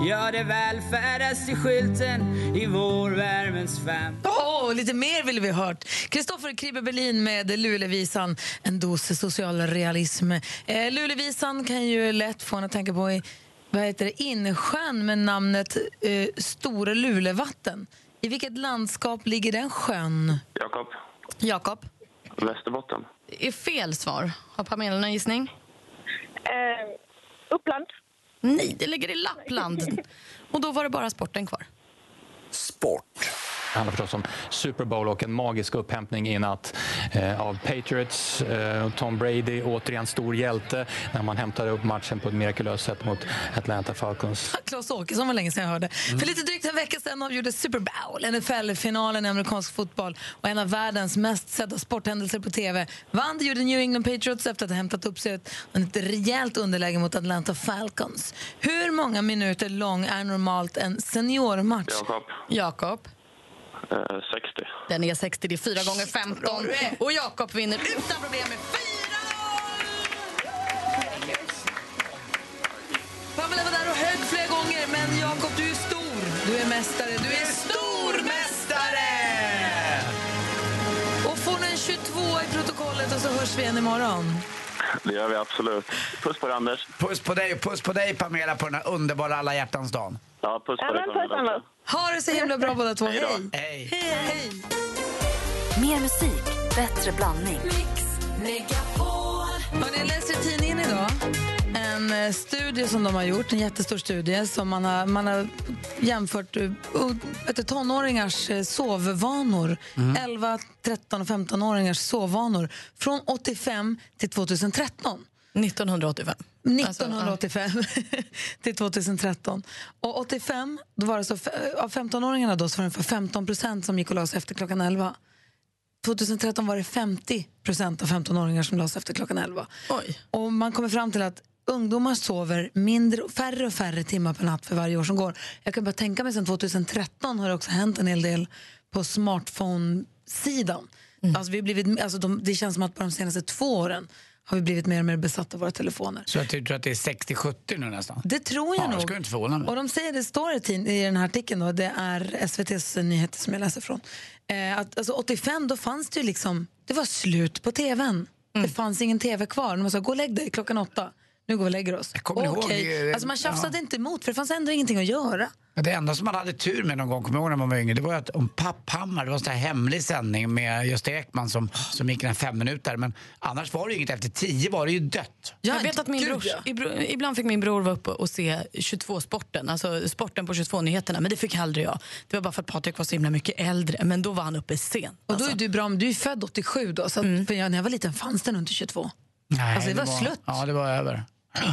[SPEAKER 13] Ja, det välfärdas i skylten i vårvärmens famn
[SPEAKER 7] Åh, lite mer ville vi ha hört. Kristoffer Kribbe Berlin med Lulevisan, en dos social realism. Eh, Lulevisan kan ju lätt få en att tänka på i, vad heter det, insjön med namnet eh, Stora Lulevatten. I vilket landskap ligger den sjön?
[SPEAKER 10] Jakob,
[SPEAKER 7] Jakob?
[SPEAKER 10] Västerbotten.
[SPEAKER 5] Det är fel svar. Har Pamela någon gissning?
[SPEAKER 14] Uppland.
[SPEAKER 5] Nej, det ligger i Lappland. Och då var det bara sporten kvar.
[SPEAKER 11] Sport.
[SPEAKER 15] Det handlar förstås om Super Bowl och en magisk upphämtning i natt eh, av Patriots. Eh, Tom Brady, återigen stor hjälte, när man hämtade upp matchen på ett mirakulöst sätt mot Atlanta Falcons.
[SPEAKER 7] Klas Åkesson var länge sedan jag hörde. För lite drygt en vecka sedan avgjordes Super Bowl, NFL-finalen i amerikansk fotboll och en av världens mest sedda sporthändelser på tv. Vann det gjorde New England Patriots efter att ha hämtat upp sig ett, ett rejält underläge mot Atlanta Falcons. Hur många minuter lång är normalt en seniormatch?
[SPEAKER 10] Jakob,
[SPEAKER 5] Jakob,
[SPEAKER 10] eh, 60.
[SPEAKER 5] den är 60, det är 4 gånger 15 Och Jakob vinner utan problem med
[SPEAKER 7] Pamela var där och högg flera gånger, men Jakob, du är stor. Du är mästare. Du är stormästare! Och får nu en 22 i protokollet och så hörs vi igen imorgon.
[SPEAKER 10] Det gör vi absolut. Puss på dig, Anders.
[SPEAKER 3] Puss på dig, puss på dig Pamela på den här underbara alla hjärtans dagen.
[SPEAKER 10] Ja, puss på dig, Pamela. också.
[SPEAKER 7] Ha det så himla bra båda två. Hej!
[SPEAKER 3] Hej.
[SPEAKER 1] Mer musik, bättre blandning.
[SPEAKER 7] Hörrni, jag läser i tidningen idag en eh, studie som de har gjort, en jättestor studie som man har, man har jämfört eh, o- vet du, tonåringars eh, sovvanor,
[SPEAKER 16] Mm.
[SPEAKER 7] 11, 13 och 15-åringars sovvanor från 85 till 2013.
[SPEAKER 5] 1985.
[SPEAKER 7] 1985 till 2013. Och 85, då var det så, f- av 15-åringarna då så var det ungefär 15 procent som gick och la sig efter klockan 11. 2013 var det 50 procent av 15-åringar som la sig efter klockan 11. Och man kommer fram till att ungdomar sover mindre, färre och färre timmar per natt för varje år som går. Jag kan bara tänka mig sen 2013 har det också hänt en hel del på smartphone-sidan. Alltså vi har blivit, alltså de, det känns som att bara de senaste två åren har vi blivit mer och mer besatta av våra telefoner.
[SPEAKER 3] Så jag tror att det är 60-70 nu nästan?
[SPEAKER 7] Det tror jag
[SPEAKER 3] ja,
[SPEAKER 7] nog.
[SPEAKER 3] Det skulle inte förvåna mig.
[SPEAKER 7] Och de säger, det står i tid- i den här artikeln, då, det är SVTs nyheter som jag läser från. Eh, att, alltså 85 då fanns det ju liksom, det var slut på tvn.
[SPEAKER 3] Mm.
[SPEAKER 7] Det fanns ingen tv kvar. De sa, gå och lägg dig klockan åtta. Nu går vi och lägger oss.
[SPEAKER 3] kommer ihåg,
[SPEAKER 7] Okej.
[SPEAKER 3] eh,
[SPEAKER 7] Alltså man tjafsade inte emot för det fanns ändå ingenting att göra.
[SPEAKER 3] Men Det enda som man hade tur med någon gång, kommer jag ihåg när man var yngre, det var ju att om Papphammar, det var en sån här hemlig sändning med Gösta Ekman som, som gick den fem minuter. Men annars var det ju inget, efter tio var det ju dött.
[SPEAKER 5] Jag vet att min bror, ibro- ibland fick min bror vara uppe och se 22-sporten, alltså sporten på 22-nyheterna, men det fick aldrig jag. Det var bara för att Patrik var så himla mycket äldre, men då var han uppe sent.
[SPEAKER 7] Och
[SPEAKER 3] Alltså.
[SPEAKER 7] då är du bra, om du är född 87 då, så att,
[SPEAKER 3] Mm.
[SPEAKER 7] för jag, när jag var liten fanns den under 22.
[SPEAKER 3] Nej,
[SPEAKER 7] alltså det, var, slut.
[SPEAKER 3] Ja, det var över.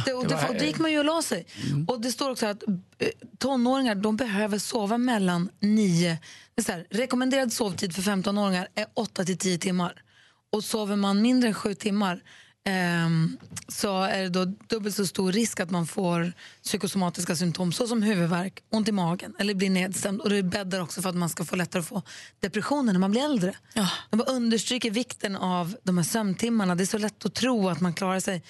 [SPEAKER 7] Det, och
[SPEAKER 3] Det
[SPEAKER 7] det,
[SPEAKER 3] var- Mm.
[SPEAKER 7] och då gick man ju och la sig. Och det står också att eh, tonåringar de behöver sova mellan 9... Det är så här, rekommenderad sovtid för 15-åringar är 8 till 10 timmar. Och sover man mindre än 7 timmar ehm, så är det då dubbelt så stor risk att man får psykosomatiska symptom såsom huvudvärk, ont i magen eller blir nedstämd. Och det bäddar också för att man ska få lättare att få depressioner när man blir äldre. De bara understryker vikten av de här sömntimmarna. Det är så lätt att tro att man klarar sig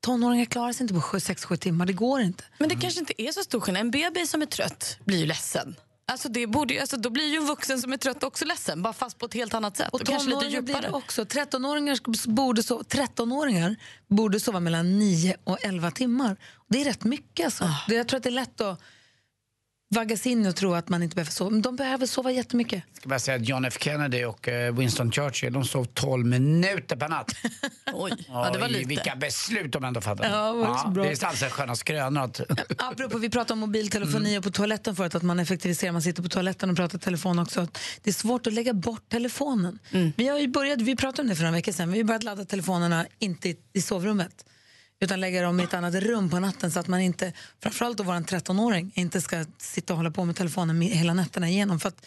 [SPEAKER 7] Tonåringar klarar sig inte på 6-7 timmar, det går inte.
[SPEAKER 5] Men det kanske inte är så stor skillnad. En bebis som är trött blir ju ledsen. Alltså det borde, ju- alltså då blir ju en vuxen som är trött också ledsen, bara fast på ett helt annat sätt. Och, kanske lite
[SPEAKER 7] tonåringar blir
[SPEAKER 5] djupare.
[SPEAKER 7] det också. 13-åringar sk- borde, so- 13-åringar borde sova
[SPEAKER 5] Ah.
[SPEAKER 7] mellan 9 och 11 timmar. Det är rätt mycket. Alltså. Det, jag tror att det är lätt att... vaggas in och tro att man inte behöver sova. Men de behöver sova jättemycket.
[SPEAKER 3] ska bara säga att John F Kennedy och eh, Winston Churchill de sov 12 minuter per natt.
[SPEAKER 5] Oj,
[SPEAKER 7] ja, det var lite.
[SPEAKER 3] Vilka beslut de ändå fattade.
[SPEAKER 7] Ja, det var så bra.
[SPEAKER 3] det är Sandströms sköna skrönor. Att...
[SPEAKER 7] Apropå, vi pratade om mobiltelefoni och på toaletten förut, att man effektiviserar, man sitter på toaletten och pratar i telefon också. Att Det är svårt att lägga bort telefonen. Vi, har ju börjat, vi pratade om det för några veckor sedan, vi har ju börjat ladda telefonerna inte i, i sovrummet utan lägga dem i ett annat rum på natten så att man inte, framförallt då vår 13-åring, inte ska sitta och hålla på med telefonen med- hela nätterna igenom. För att,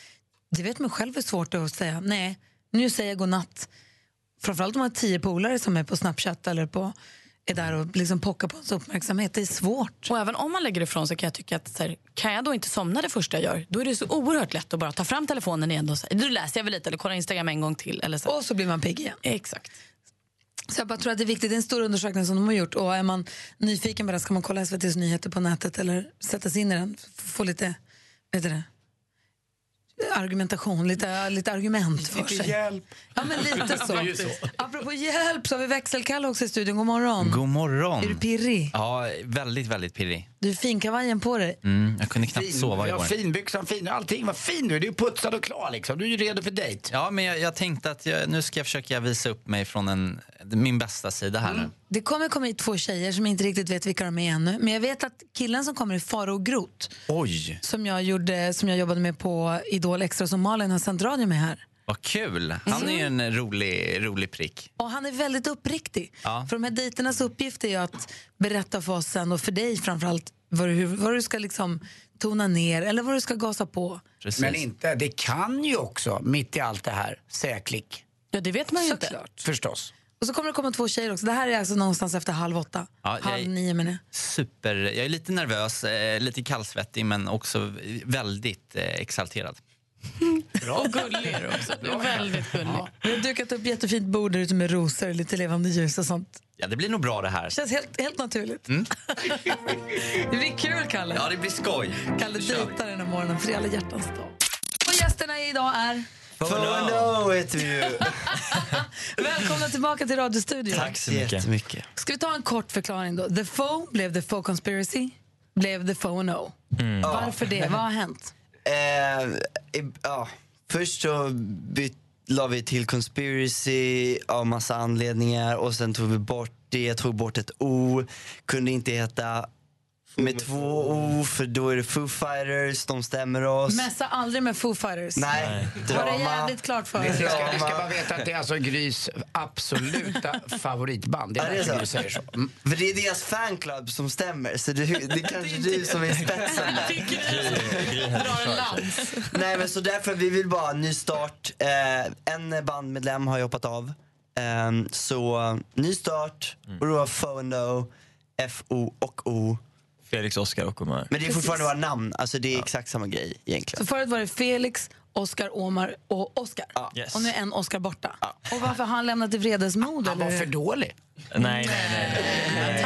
[SPEAKER 7] det vet man själv är svårt att säga, nej, nu säger jag godnatt. Framförallt om man har tio polare som är på Snapchat eller på, är där och liksom pockar på ens uppmärksamhet. Det är svårt.
[SPEAKER 5] Och även om man lägger ifrån sig kan jag tycka att så här, kan jag då inte somna det första jag gör, då är det så oerhört lätt att bara ta fram telefonen igen och säga, nu läser jag väl lite eller kollar Instagram en gång till. Eller så.
[SPEAKER 7] Och så blir man pigg igen.
[SPEAKER 5] Exakt.
[SPEAKER 7] Så jag bara tror att det är viktigt, det är en stor undersökning som de har gjort och är man nyfiken på det ska man kolla SVTs nyheter på nätet eller sätta sig in i den, f- få lite, vet du det, argumentation, lite, lite argument för sig. Ja men lite
[SPEAKER 14] Det är ju
[SPEAKER 7] så.
[SPEAKER 14] så.
[SPEAKER 7] Apropå hjälp så har vi växelkalle också i studion, god morgon.
[SPEAKER 14] God morgon.
[SPEAKER 7] Är du pirrig?
[SPEAKER 14] Ja, väldigt, väldigt pirrig.
[SPEAKER 7] Du har finkavajen på dig.
[SPEAKER 14] Mm, jag kunde knappt sova
[SPEAKER 3] ja,
[SPEAKER 14] igår.
[SPEAKER 3] finbyxan, fin, allting var fin nu. Du är putsad och klar liksom. Du är ju redo för dejt.
[SPEAKER 14] Ja, men jag, jag tänkte att jag, nu ska jag försöka visa upp mig från en, min bästa sida här nu.
[SPEAKER 7] Det kommer komma hit två tjejer som inte riktigt vet vilka de är ännu, men jag vet att killen som kommer är Faro Groth
[SPEAKER 14] Oj,
[SPEAKER 7] som jag, gjorde, som jag jobbade med på Idol Extra som Malin har sänt radio med här.
[SPEAKER 14] vad kul. Han är ju en rolig, rolig prick.
[SPEAKER 7] Och han är väldigt uppriktig.
[SPEAKER 14] Ja.
[SPEAKER 7] För de här dejternas uppgift är ju att berätta för oss sen och för dig framförallt vad du, hur- vad du ska liksom tona ner eller vad du ska gasa på.
[SPEAKER 3] Men inte, det kan ju också, mitt i allt det här, säga klick.
[SPEAKER 5] Ja, det vet man ju
[SPEAKER 7] inte.
[SPEAKER 3] Förstås.
[SPEAKER 7] Och så kommer det komma två tjejer också. Det här är alltså någonstans efter halv åtta.
[SPEAKER 14] Ja,
[SPEAKER 7] halv
[SPEAKER 14] jag-
[SPEAKER 7] nio menar jag.
[SPEAKER 14] Super. Jag är lite nervös, eh, lite kallsvettig men också väldigt eh, exalterad.
[SPEAKER 5] Och gullig är du också. Du är väldigt gullig.
[SPEAKER 7] Vi har dukat upp jättefint bord där ute med rosor och lite levande ljus och sånt.
[SPEAKER 14] Ja, det blir nog bra det här.
[SPEAKER 7] Det känns helt, helt naturligt.
[SPEAKER 14] Mm.
[SPEAKER 7] Det blir kul, Kalle.
[SPEAKER 14] Ja, det blir skoj.
[SPEAKER 7] Kalle dejtar den här morgonen för alla hjärtans dag. Och gästerna idag är...
[SPEAKER 16] Fono heter vi ju.
[SPEAKER 7] Välkomna tillbaka till radiostudion.
[SPEAKER 16] Tack så mycket.
[SPEAKER 7] Ska vi ta en kort förklaring då? The Foe blev The Foe Conspiracy, blev The Foe No.
[SPEAKER 16] Mm.
[SPEAKER 7] Varför det? Vad har hänt?
[SPEAKER 16] Eh, i- ja. Först så byt, la vi till conspiracy av massa anledningar och sen tog vi bort det, jag tog bort ett O, kunde inte heta med två O för då är det Foo Fighters, de stämmer oss.
[SPEAKER 7] Mässa aldrig med Foo Fighters.
[SPEAKER 16] Nej,
[SPEAKER 7] Var det
[SPEAKER 16] drama.
[SPEAKER 7] jävligt klart för
[SPEAKER 3] Ni
[SPEAKER 7] er?
[SPEAKER 3] ska, ni ska bara veta att det är alltså Grys absoluta favoritband. Det
[SPEAKER 16] Ja,
[SPEAKER 3] är
[SPEAKER 16] det är
[SPEAKER 3] därför
[SPEAKER 16] så.
[SPEAKER 3] du säger så. Mm.
[SPEAKER 16] För det är deras fanclub som stämmer, så det, det är kanske du som är spetsen där. Nej men så därför, vi vill bara ha en ny start. Eh, en bandmedlem har ju hoppat av. Ehm, så ny start,
[SPEAKER 17] Mm.
[SPEAKER 16] och då var FONO, F-O och O.
[SPEAKER 17] Felix, Oscar och Omar.
[SPEAKER 16] Men det är fortfarande
[SPEAKER 7] Precis.
[SPEAKER 16] våra namn, alltså det är exakt samma grej egentligen.
[SPEAKER 7] Så förut var det Felix, Oscar, Omar och Oscar.
[SPEAKER 16] Yes.
[SPEAKER 7] Och nu är en Oscar borta. Och varför har han lämnat i vredesmod? Han var för
[SPEAKER 3] dålig.
[SPEAKER 17] Nej, nej, nej.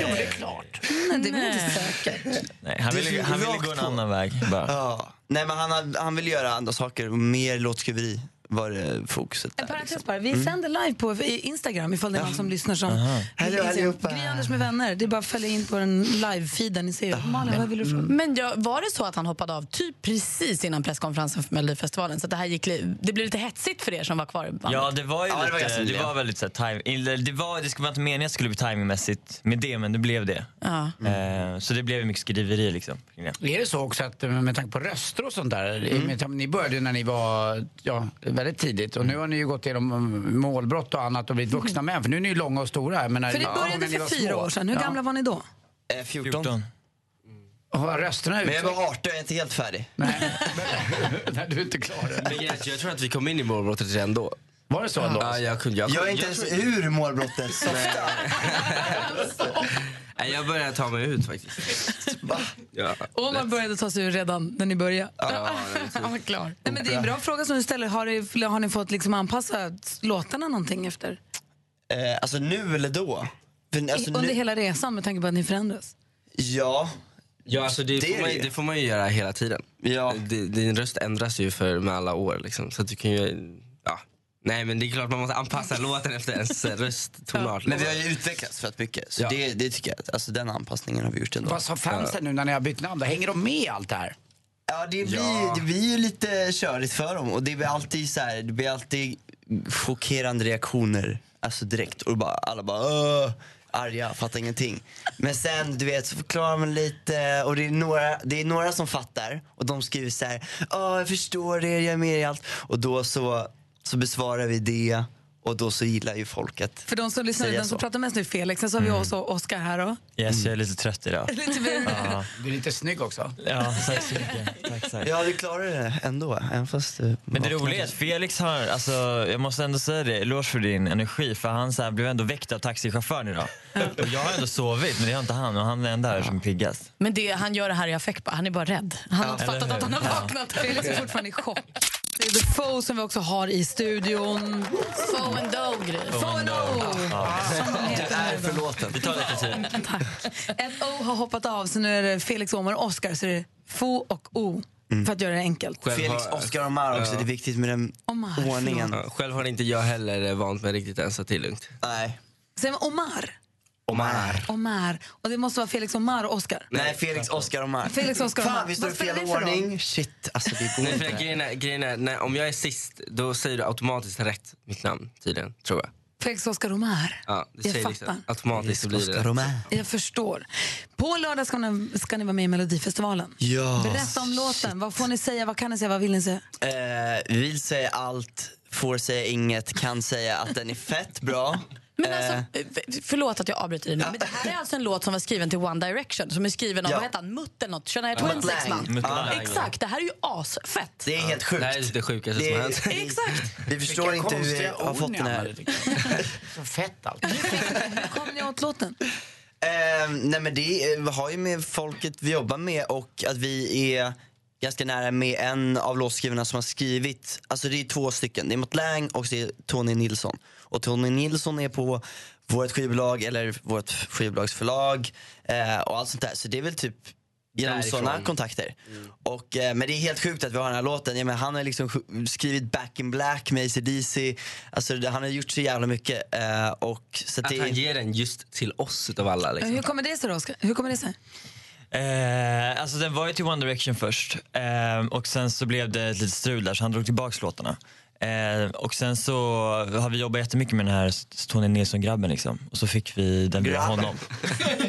[SPEAKER 3] Jo, men det är klart.
[SPEAKER 7] Nej, det är väl inte säkert.
[SPEAKER 17] nej. Han
[SPEAKER 16] Det
[SPEAKER 17] ville,
[SPEAKER 16] är
[SPEAKER 17] han ville
[SPEAKER 16] rakt
[SPEAKER 17] gå en
[SPEAKER 16] på.
[SPEAKER 17] annan väg. Bara.
[SPEAKER 16] Ja. Nej men han, hade- han vill göra andra saker, och mer låtskriveri var det fokuset
[SPEAKER 7] En
[SPEAKER 16] där.
[SPEAKER 7] parentes bara. Vi sänder live på Instagram ifall det är någon som lyssnar som
[SPEAKER 16] Aha. Hallå,
[SPEAKER 7] vill se.
[SPEAKER 16] allihopa.
[SPEAKER 7] Gry Anders med vänner. Det är bara att följa in på den live-feeden. Ni ser ju. Malin, vad vill du fråga?
[SPEAKER 5] Men ja, var det så att han hoppade av typ precis innan presskonferensen för Melodifestivalen? Så att det, här gick, li- det blev lite hetsigt för er som var kvar i bandet.
[SPEAKER 17] Ja, det var ju
[SPEAKER 5] Ja, det var
[SPEAKER 17] lite,
[SPEAKER 5] ganska
[SPEAKER 17] det
[SPEAKER 5] miljö.
[SPEAKER 17] var väldigt så här, time, eller det, var, det skulle inte meningen att det skulle bli timingmässigt med det, men det blev det.
[SPEAKER 5] Ja.
[SPEAKER 17] Eh, så det blev ju mycket skriveri liksom. kring det.
[SPEAKER 3] Är det så också att eh, med tanke på röster och sånt där, i- med tanke- ni började ju när ni var ja, väldigt tidigt och nu har ni ju gått igenom mm, målbrott och annat och blivit vuxna män för nu är ni ju långa och stora. Men när-
[SPEAKER 7] För det
[SPEAKER 3] när
[SPEAKER 7] började
[SPEAKER 3] ni
[SPEAKER 7] för
[SPEAKER 3] var
[SPEAKER 7] fyra
[SPEAKER 3] små-
[SPEAKER 7] år sedan. Hur
[SPEAKER 3] Ja.
[SPEAKER 7] gamla var ni då?
[SPEAKER 16] 14.
[SPEAKER 3] Eh,
[SPEAKER 17] Mm.
[SPEAKER 3] Och vad rösterna ut.
[SPEAKER 16] Eh, Men jag var 18, jag är inte helt färdig.
[SPEAKER 3] Nej, du är inte klar än.
[SPEAKER 18] Men jag, jag tror att vi kom in i målbrottet redan då.
[SPEAKER 3] Var det så ändå?
[SPEAKER 18] Ja, jag, kunde, jag,
[SPEAKER 16] Jag är
[SPEAKER 18] kunde-
[SPEAKER 16] inte ens ur målbrottet. så-
[SPEAKER 18] Nej, jag började ta mig ut faktiskt. Ja.
[SPEAKER 7] Omar började ta sig ur redan när ni började.
[SPEAKER 18] Ja,
[SPEAKER 5] Han var klar.
[SPEAKER 7] Nej, men det är en bra fråga som du ställer. Har, ni- har ni fått liksom anpassa låtarna någonting efter?
[SPEAKER 16] Eh, alltså nu eller då? För, alltså,
[SPEAKER 7] Under
[SPEAKER 16] nu,
[SPEAKER 7] hela resan med tanke på att ni förändras?
[SPEAKER 16] ja.
[SPEAKER 18] Ja, alltså det,
[SPEAKER 16] Det är
[SPEAKER 18] får man,
[SPEAKER 16] det ju.
[SPEAKER 18] ju- det får man ju göra hela tiden.
[SPEAKER 16] Ja.
[SPEAKER 18] Din röst ändras ju för, med alla år. Liksom. Så att du kan ju, ja, Nej men det är klart man måste anpassa låten efter ens rösttonart. liksom.
[SPEAKER 16] Men vi har ju utvecklats frätt mycket. Så det, det tycker jag, att- alltså den anpassningen har vi gjort ändå.
[SPEAKER 3] Vad sa fansen nu när ni har bytt namn? då? Hänger de med i allt det här?
[SPEAKER 16] Ja, det blir, det blir ju lite körigt för dem och det blir alltid så här, det blir alltid chockerande reaktioner. Alltså direkt. Och bara, alla bara Åh! arga, fattar ingenting. Men sen du vet så förklarar man lite och det är några, det är några som fattar och de skriver så här, "Åh, jag förstår det, jag är med i allt. Och då så, så besvarar vi det och då så gillar ju folket
[SPEAKER 7] För de som lyssnar,
[SPEAKER 16] Säga
[SPEAKER 7] den som
[SPEAKER 16] så. Mm.
[SPEAKER 7] pratar mest nu är Felix, sen så har vi också Oskar här. Då.
[SPEAKER 17] Yes, jag är lite trött idag.
[SPEAKER 7] Lite
[SPEAKER 17] ja.
[SPEAKER 3] Du är lite snygg också.
[SPEAKER 17] ja, tack så mycket. Tack, tack.
[SPEAKER 16] Ja, vi klarar det ändå. Även fast det
[SPEAKER 17] Men det roliga är att Felix har, alltså, jag måste ändå säga det, eloge för din energi för han så här, blev ändå väckt av taxichauffören idag. Och jag har ändå sovit men det har inte han och han är ändå här som piggast.
[SPEAKER 5] Men det, han gör det här i affekt bara. Han är bara rädd. Han har
[SPEAKER 17] Ja.
[SPEAKER 5] inte fattat
[SPEAKER 17] Eller
[SPEAKER 5] att
[SPEAKER 17] hur?
[SPEAKER 5] han har
[SPEAKER 17] Ja.
[SPEAKER 5] vaknat.
[SPEAKER 7] Felix är fortfarande i chock. Det är The Foe som vi också har i studion.
[SPEAKER 5] Foe and Dougry.
[SPEAKER 7] Foe and O! Som de
[SPEAKER 17] Du
[SPEAKER 7] heter
[SPEAKER 17] är
[SPEAKER 7] nu då.
[SPEAKER 17] förlåten. Det tar lite tid.
[SPEAKER 7] Ett O har hoppat av, så nu är det Felix, Omar och Oskar. Så det är Fo och O,
[SPEAKER 16] Mm.
[SPEAKER 7] för att göra det enkelt.
[SPEAKER 16] Felix, Oscar och Omar också, det är viktigt med den
[SPEAKER 7] Omar,
[SPEAKER 16] ordningen.
[SPEAKER 18] Ja, Själv har inte jag heller vant mig riktigt än så att det är lugnt.
[SPEAKER 16] Nej.
[SPEAKER 7] Säger man Omar?
[SPEAKER 18] Omar.
[SPEAKER 7] Omar. Och det måste vara Felix, Omar och Oskar.
[SPEAKER 16] Nej, Felix, Oscar och Mark.
[SPEAKER 7] Felix, Oscar och
[SPEAKER 16] Fan,
[SPEAKER 7] Mark.
[SPEAKER 16] vi står i
[SPEAKER 7] Vad spelar
[SPEAKER 16] fel
[SPEAKER 7] ni för roll?
[SPEAKER 16] ordning. Shit, alltså det går
[SPEAKER 18] Nej, för
[SPEAKER 16] inte.
[SPEAKER 18] grejen är, grejen är när, om jag är sist då säger du automatiskt rätt mitt namn tydligen, tror jag.
[SPEAKER 7] Felix, Oskar, Omar.
[SPEAKER 18] Ja, det
[SPEAKER 7] Jag
[SPEAKER 18] säger
[SPEAKER 7] fattar.
[SPEAKER 18] liksom, automatiskt så blir det
[SPEAKER 16] Oscar Romare.
[SPEAKER 7] Jag förstår. På lördag ska ni, ska ni vara med i Melodifestivalen.
[SPEAKER 16] Ja.
[SPEAKER 7] Berätta om låten. Vad får ni säga? Vad kan ni säga? Vad vill ni säga?
[SPEAKER 16] Eh, vill säga allt, får säga inget, kan säga att den är fett bra.
[SPEAKER 5] Men alltså,
[SPEAKER 16] Eh,
[SPEAKER 5] f- förlåt att jag avbryter dig nu, men det här är alltså en låt som var skriven till One Direction som är skriven av,
[SPEAKER 16] Ja.
[SPEAKER 5] vad heter han, Mutt eller något? Shania
[SPEAKER 16] Ja,
[SPEAKER 5] Twains
[SPEAKER 16] Mutt
[SPEAKER 5] exman.
[SPEAKER 16] Lang. Ja.
[SPEAKER 5] Exakt, det här är ju asfett.
[SPEAKER 16] det är helt sjukt.
[SPEAKER 18] Det här är det sjukaste
[SPEAKER 16] Det
[SPEAKER 18] som har
[SPEAKER 16] är-
[SPEAKER 18] hänt.
[SPEAKER 5] Exakt.
[SPEAKER 16] Vi förstår
[SPEAKER 3] Vilka
[SPEAKER 16] inte hur vi
[SPEAKER 3] konstiga
[SPEAKER 16] har
[SPEAKER 3] ord
[SPEAKER 16] fått
[SPEAKER 3] ni
[SPEAKER 16] den här.
[SPEAKER 3] använder, tycker jag. Så fett alltså. allt.
[SPEAKER 7] Kommer ni åt låten?
[SPEAKER 16] Eh, nej men det eh, har ju med folket vi jobbar med och att vi är ganska nära med en av låtskrivarna som har skrivit, alltså det är två stycken, det är Mott Lang och det är Tony Nilsson. Och Tony Nilsson är på vårt skivbolag eller vårt skivbolagsförlag eh, och allt sånt där. Så det är väl typ genom
[SPEAKER 18] Därifrån.
[SPEAKER 16] sådana kontakter. Och, eh, men det är helt sjukt att vi har den här låten. Jag menar, han har liksom sj- skrivit Back in Black med ACDC. Alltså, det- han har gjort så jävla mycket. Eh, och, så
[SPEAKER 18] Att
[SPEAKER 16] det,
[SPEAKER 18] han ger den just till oss utav alla liksom.
[SPEAKER 7] Hur kommer det sig då, Oskar? Hur kommer det sig?
[SPEAKER 17] Eh, alltså den var ju till One Direction först eh, och sen så blev det ett litet strul där så han drog tillbaks låtarna. Eh, och sen så har vi jobbat jättemycket med den här Tony Nilsson-grabben liksom. Och så fick vi den via
[SPEAKER 16] Grabben.
[SPEAKER 17] honom.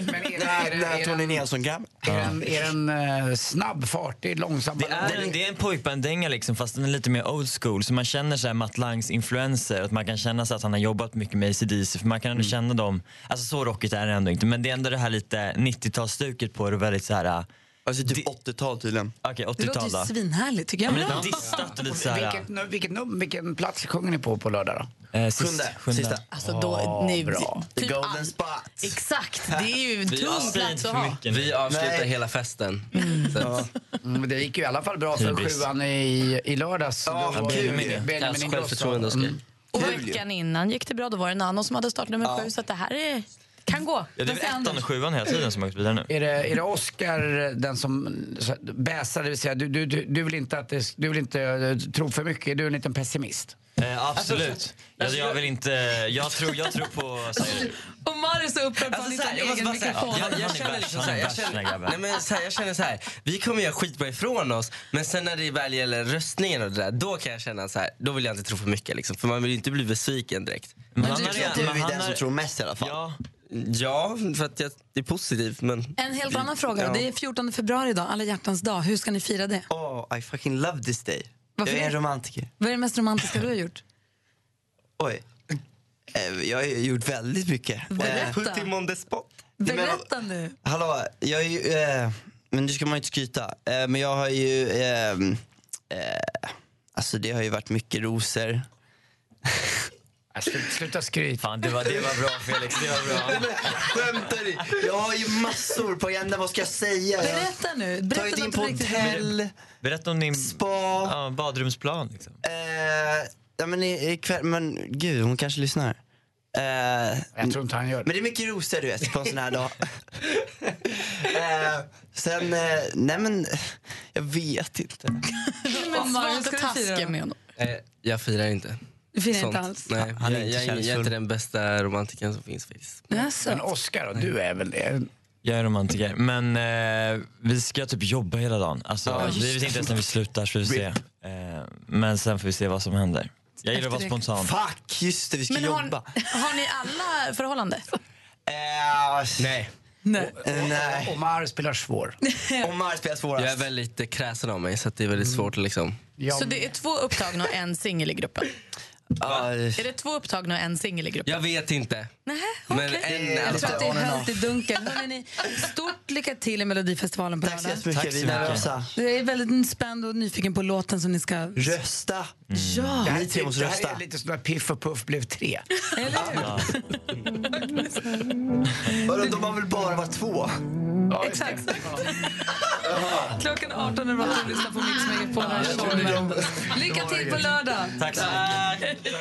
[SPEAKER 3] Men är det, är
[SPEAKER 16] Den här
[SPEAKER 3] det, är
[SPEAKER 16] Tony
[SPEAKER 3] det,
[SPEAKER 16] Nilsson-grabben.
[SPEAKER 3] är det, en- är det en eh, snabb fart? Det är långsam
[SPEAKER 17] Det är, det är en pojkbanddänga liksom, fast den är lite mer old school. Så man känner så här Matt Langs influenser. Att man kan känna så att han har jobbat mycket med ACDC. För man kan
[SPEAKER 16] Mm.
[SPEAKER 17] ändå känna dem. Alltså så rockigt är det ändå inte. Men det är ändå det här lite 90-talsstuket på det. och Väldigt så här...
[SPEAKER 16] Alltså typ 80-tal tydligen.
[SPEAKER 17] Okej,
[SPEAKER 7] Det låter
[SPEAKER 17] 80-tal
[SPEAKER 7] ju
[SPEAKER 17] då.
[SPEAKER 7] svinhärligt, tycker jag.
[SPEAKER 17] Ja, men lite distat och lite så här...
[SPEAKER 3] Vilket, nu- vilket, num- vilken plats sjunger ni på på lördag då?
[SPEAKER 17] Eh, sist-
[SPEAKER 16] Sjunde.
[SPEAKER 17] sjunde.
[SPEAKER 16] Sista.
[SPEAKER 5] Alltså då,
[SPEAKER 3] Ja,
[SPEAKER 5] nu,
[SPEAKER 3] bra.
[SPEAKER 16] The
[SPEAKER 5] typ
[SPEAKER 16] golden
[SPEAKER 5] all-
[SPEAKER 16] spot.
[SPEAKER 5] Exakt, det är ju en
[SPEAKER 18] Vi
[SPEAKER 5] tung
[SPEAKER 18] avslöjar
[SPEAKER 5] plats
[SPEAKER 17] inte
[SPEAKER 5] att
[SPEAKER 17] för
[SPEAKER 5] ha.
[SPEAKER 17] mycket.
[SPEAKER 18] Vi avslutar
[SPEAKER 16] Nej.
[SPEAKER 18] hela festen. Så att-
[SPEAKER 3] Mm, det gick ju i alla fall bra för
[SPEAKER 17] Hybris.
[SPEAKER 3] Alltså, sjuan i, i lördags.
[SPEAKER 16] Ja,
[SPEAKER 3] Då var
[SPEAKER 16] kul.
[SPEAKER 3] Benjamin
[SPEAKER 18] Alltså,
[SPEAKER 3] Ingrosso.
[SPEAKER 18] självförtroende och skoj.
[SPEAKER 3] Mm.
[SPEAKER 5] Och veckan innan gick det bra, då var det en annan som hade startnummer
[SPEAKER 16] Ja.
[SPEAKER 5] sju, så att det här är, kan gå.
[SPEAKER 17] Ja, det är
[SPEAKER 7] Vad säger
[SPEAKER 17] väl ettan
[SPEAKER 7] Anders?
[SPEAKER 17] och sjuan hela tiden som har åkt vidare nu.
[SPEAKER 3] Är det, är det Oscar, den som så- bäsar, det vill säga du, du, du, du vill inte, att det, du vill inte eh, tro för mycket, du är en liten pessimist.
[SPEAKER 17] Eh, absolut. Jag, jag vill inte... Jag tror, jag tror på... Sorry.
[SPEAKER 7] Och Mari så upprörd på
[SPEAKER 18] Alltså,
[SPEAKER 7] sin
[SPEAKER 18] så här, jag måste
[SPEAKER 7] egen
[SPEAKER 18] bara säga,
[SPEAKER 7] mikrofon.
[SPEAKER 17] Han-
[SPEAKER 18] jag,
[SPEAKER 17] han är
[SPEAKER 18] jag känner
[SPEAKER 17] värst,
[SPEAKER 18] liksom
[SPEAKER 17] han
[SPEAKER 18] så
[SPEAKER 17] är
[SPEAKER 18] här, jag
[SPEAKER 17] värst, den här
[SPEAKER 18] känner,
[SPEAKER 17] grabben.
[SPEAKER 18] nej men så här, jag känner så här, vi kommer göra skitbra ifrån oss, men sen när det väl gäller röstningen och det där, då kan jag känna så här, då vill jag inte tro för mycket liksom, för man vill ju inte bli besviken direkt.
[SPEAKER 17] Men
[SPEAKER 16] Du
[SPEAKER 17] han har
[SPEAKER 16] är
[SPEAKER 17] redan- men han
[SPEAKER 16] den som
[SPEAKER 17] har-
[SPEAKER 16] tror mest i alla fall.
[SPEAKER 17] Ja,
[SPEAKER 18] Ja, för att jag det är positivt men...
[SPEAKER 7] En helt annan fråga. då. Det är 14 februari idag, alla hjärtans dag. Hur ska ni fira det?
[SPEAKER 16] Oh, I fucking love this day.
[SPEAKER 7] Varför
[SPEAKER 16] Jag är en
[SPEAKER 7] det?
[SPEAKER 16] romantiker.
[SPEAKER 7] Vad är det mest romantiska du har gjort?
[SPEAKER 16] Oj. Eh, Jag har ju gjort väldigt mycket. Eh,
[SPEAKER 7] Berätta.
[SPEAKER 18] Put him on the spot.
[SPEAKER 7] Berätta nu.
[SPEAKER 16] Hallå, jag är ju... Eh, men nu ska man ju inte skryta. Eh, men jag har ju... Eh, eh, alltså det har ju varit mycket rosor.
[SPEAKER 3] Äh, Sluta, sluta skryt.
[SPEAKER 17] fan det var, det var bra Felix. Det var bra.
[SPEAKER 16] Skämtar ni? Jag har ju massor på agendan, vad ska jag säga? Jag har
[SPEAKER 7] Berätta nu. Berätta
[SPEAKER 16] tagit in
[SPEAKER 7] något
[SPEAKER 16] på
[SPEAKER 7] riktigt.
[SPEAKER 16] hotell,
[SPEAKER 17] Berätta om din
[SPEAKER 16] spa.
[SPEAKER 17] ja, badrumsplan. Liksom.
[SPEAKER 16] Eh, ja, men i- ikväll, men gud hon kanske lyssnar. Eh,
[SPEAKER 3] Jag tror inte han gör
[SPEAKER 16] men
[SPEAKER 3] det.
[SPEAKER 16] det är mycket rosor du vet på en sån här dag. eh, sen, eh, nej men jag vet inte.
[SPEAKER 7] Men Mari,
[SPEAKER 5] Var
[SPEAKER 7] hur
[SPEAKER 5] inte
[SPEAKER 7] ska du fira?
[SPEAKER 5] taskig med honom.
[SPEAKER 18] Eh, jag firar inte.
[SPEAKER 7] Det firar
[SPEAKER 18] sånt.
[SPEAKER 7] inte alls.
[SPEAKER 18] Nej,
[SPEAKER 7] Han är
[SPEAKER 18] jag,
[SPEAKER 7] inte
[SPEAKER 18] jag, jag är inte
[SPEAKER 7] kärleksfull.
[SPEAKER 18] den bästa romantikern som finns faktiskt.
[SPEAKER 7] Jaså?
[SPEAKER 3] Men Oscar då, du är väl det?
[SPEAKER 17] Jag är romantiker, men eh, vi ska typ jobba hela dagen. Alltså,
[SPEAKER 3] Ja, just
[SPEAKER 17] vi vet
[SPEAKER 3] det.
[SPEAKER 17] inte ens när vi slutar, så vi får se.
[SPEAKER 3] RIP.
[SPEAKER 17] Eh, men sen får vi se vad som händer. Jag gillar att vara
[SPEAKER 5] Efter det.
[SPEAKER 17] spontan.
[SPEAKER 9] Fuck, just det, vi ska
[SPEAKER 5] Men har,
[SPEAKER 9] jobba.
[SPEAKER 5] har ni alla förhållande?
[SPEAKER 18] Nej.
[SPEAKER 7] Nej.
[SPEAKER 18] Nej.
[SPEAKER 3] Omar spelar svår.
[SPEAKER 9] Omar spelar svårast.
[SPEAKER 18] Jag är väldigt eh, kräsen av mig så att det är väldigt svårt att liksom...
[SPEAKER 5] Så det är två upptagna och en singel i gruppen?
[SPEAKER 18] Ja,
[SPEAKER 5] Är det två upptagna och en singel i gruppen?
[SPEAKER 18] Jag vet inte.
[SPEAKER 5] Nej,
[SPEAKER 18] Men en i alla
[SPEAKER 7] Jag tror att det är
[SPEAKER 18] fall.
[SPEAKER 7] höljt i dunkel. Hörrni, stort lycka till i Melodifestivalen på lördag.
[SPEAKER 9] så jättemycket. Tack så Vi är mycket. nervösa.
[SPEAKER 7] Jag är väldigt spänd och nyfiken på låten som ni ska...
[SPEAKER 17] Mm.
[SPEAKER 9] Rösta!
[SPEAKER 7] Ja!
[SPEAKER 3] Det här,
[SPEAKER 9] Ni tre
[SPEAKER 3] är,
[SPEAKER 9] måste
[SPEAKER 3] det här
[SPEAKER 9] rösta.
[SPEAKER 3] är lite som när Piff och Puff blev tre.
[SPEAKER 9] Vadå, de har väl bara varit två?
[SPEAKER 7] Exakt. Klockan 18 är vatten och lyssnar på Mix Megapol. här i Stormen. Lycka till på lördag!
[SPEAKER 17] Tack så mycket.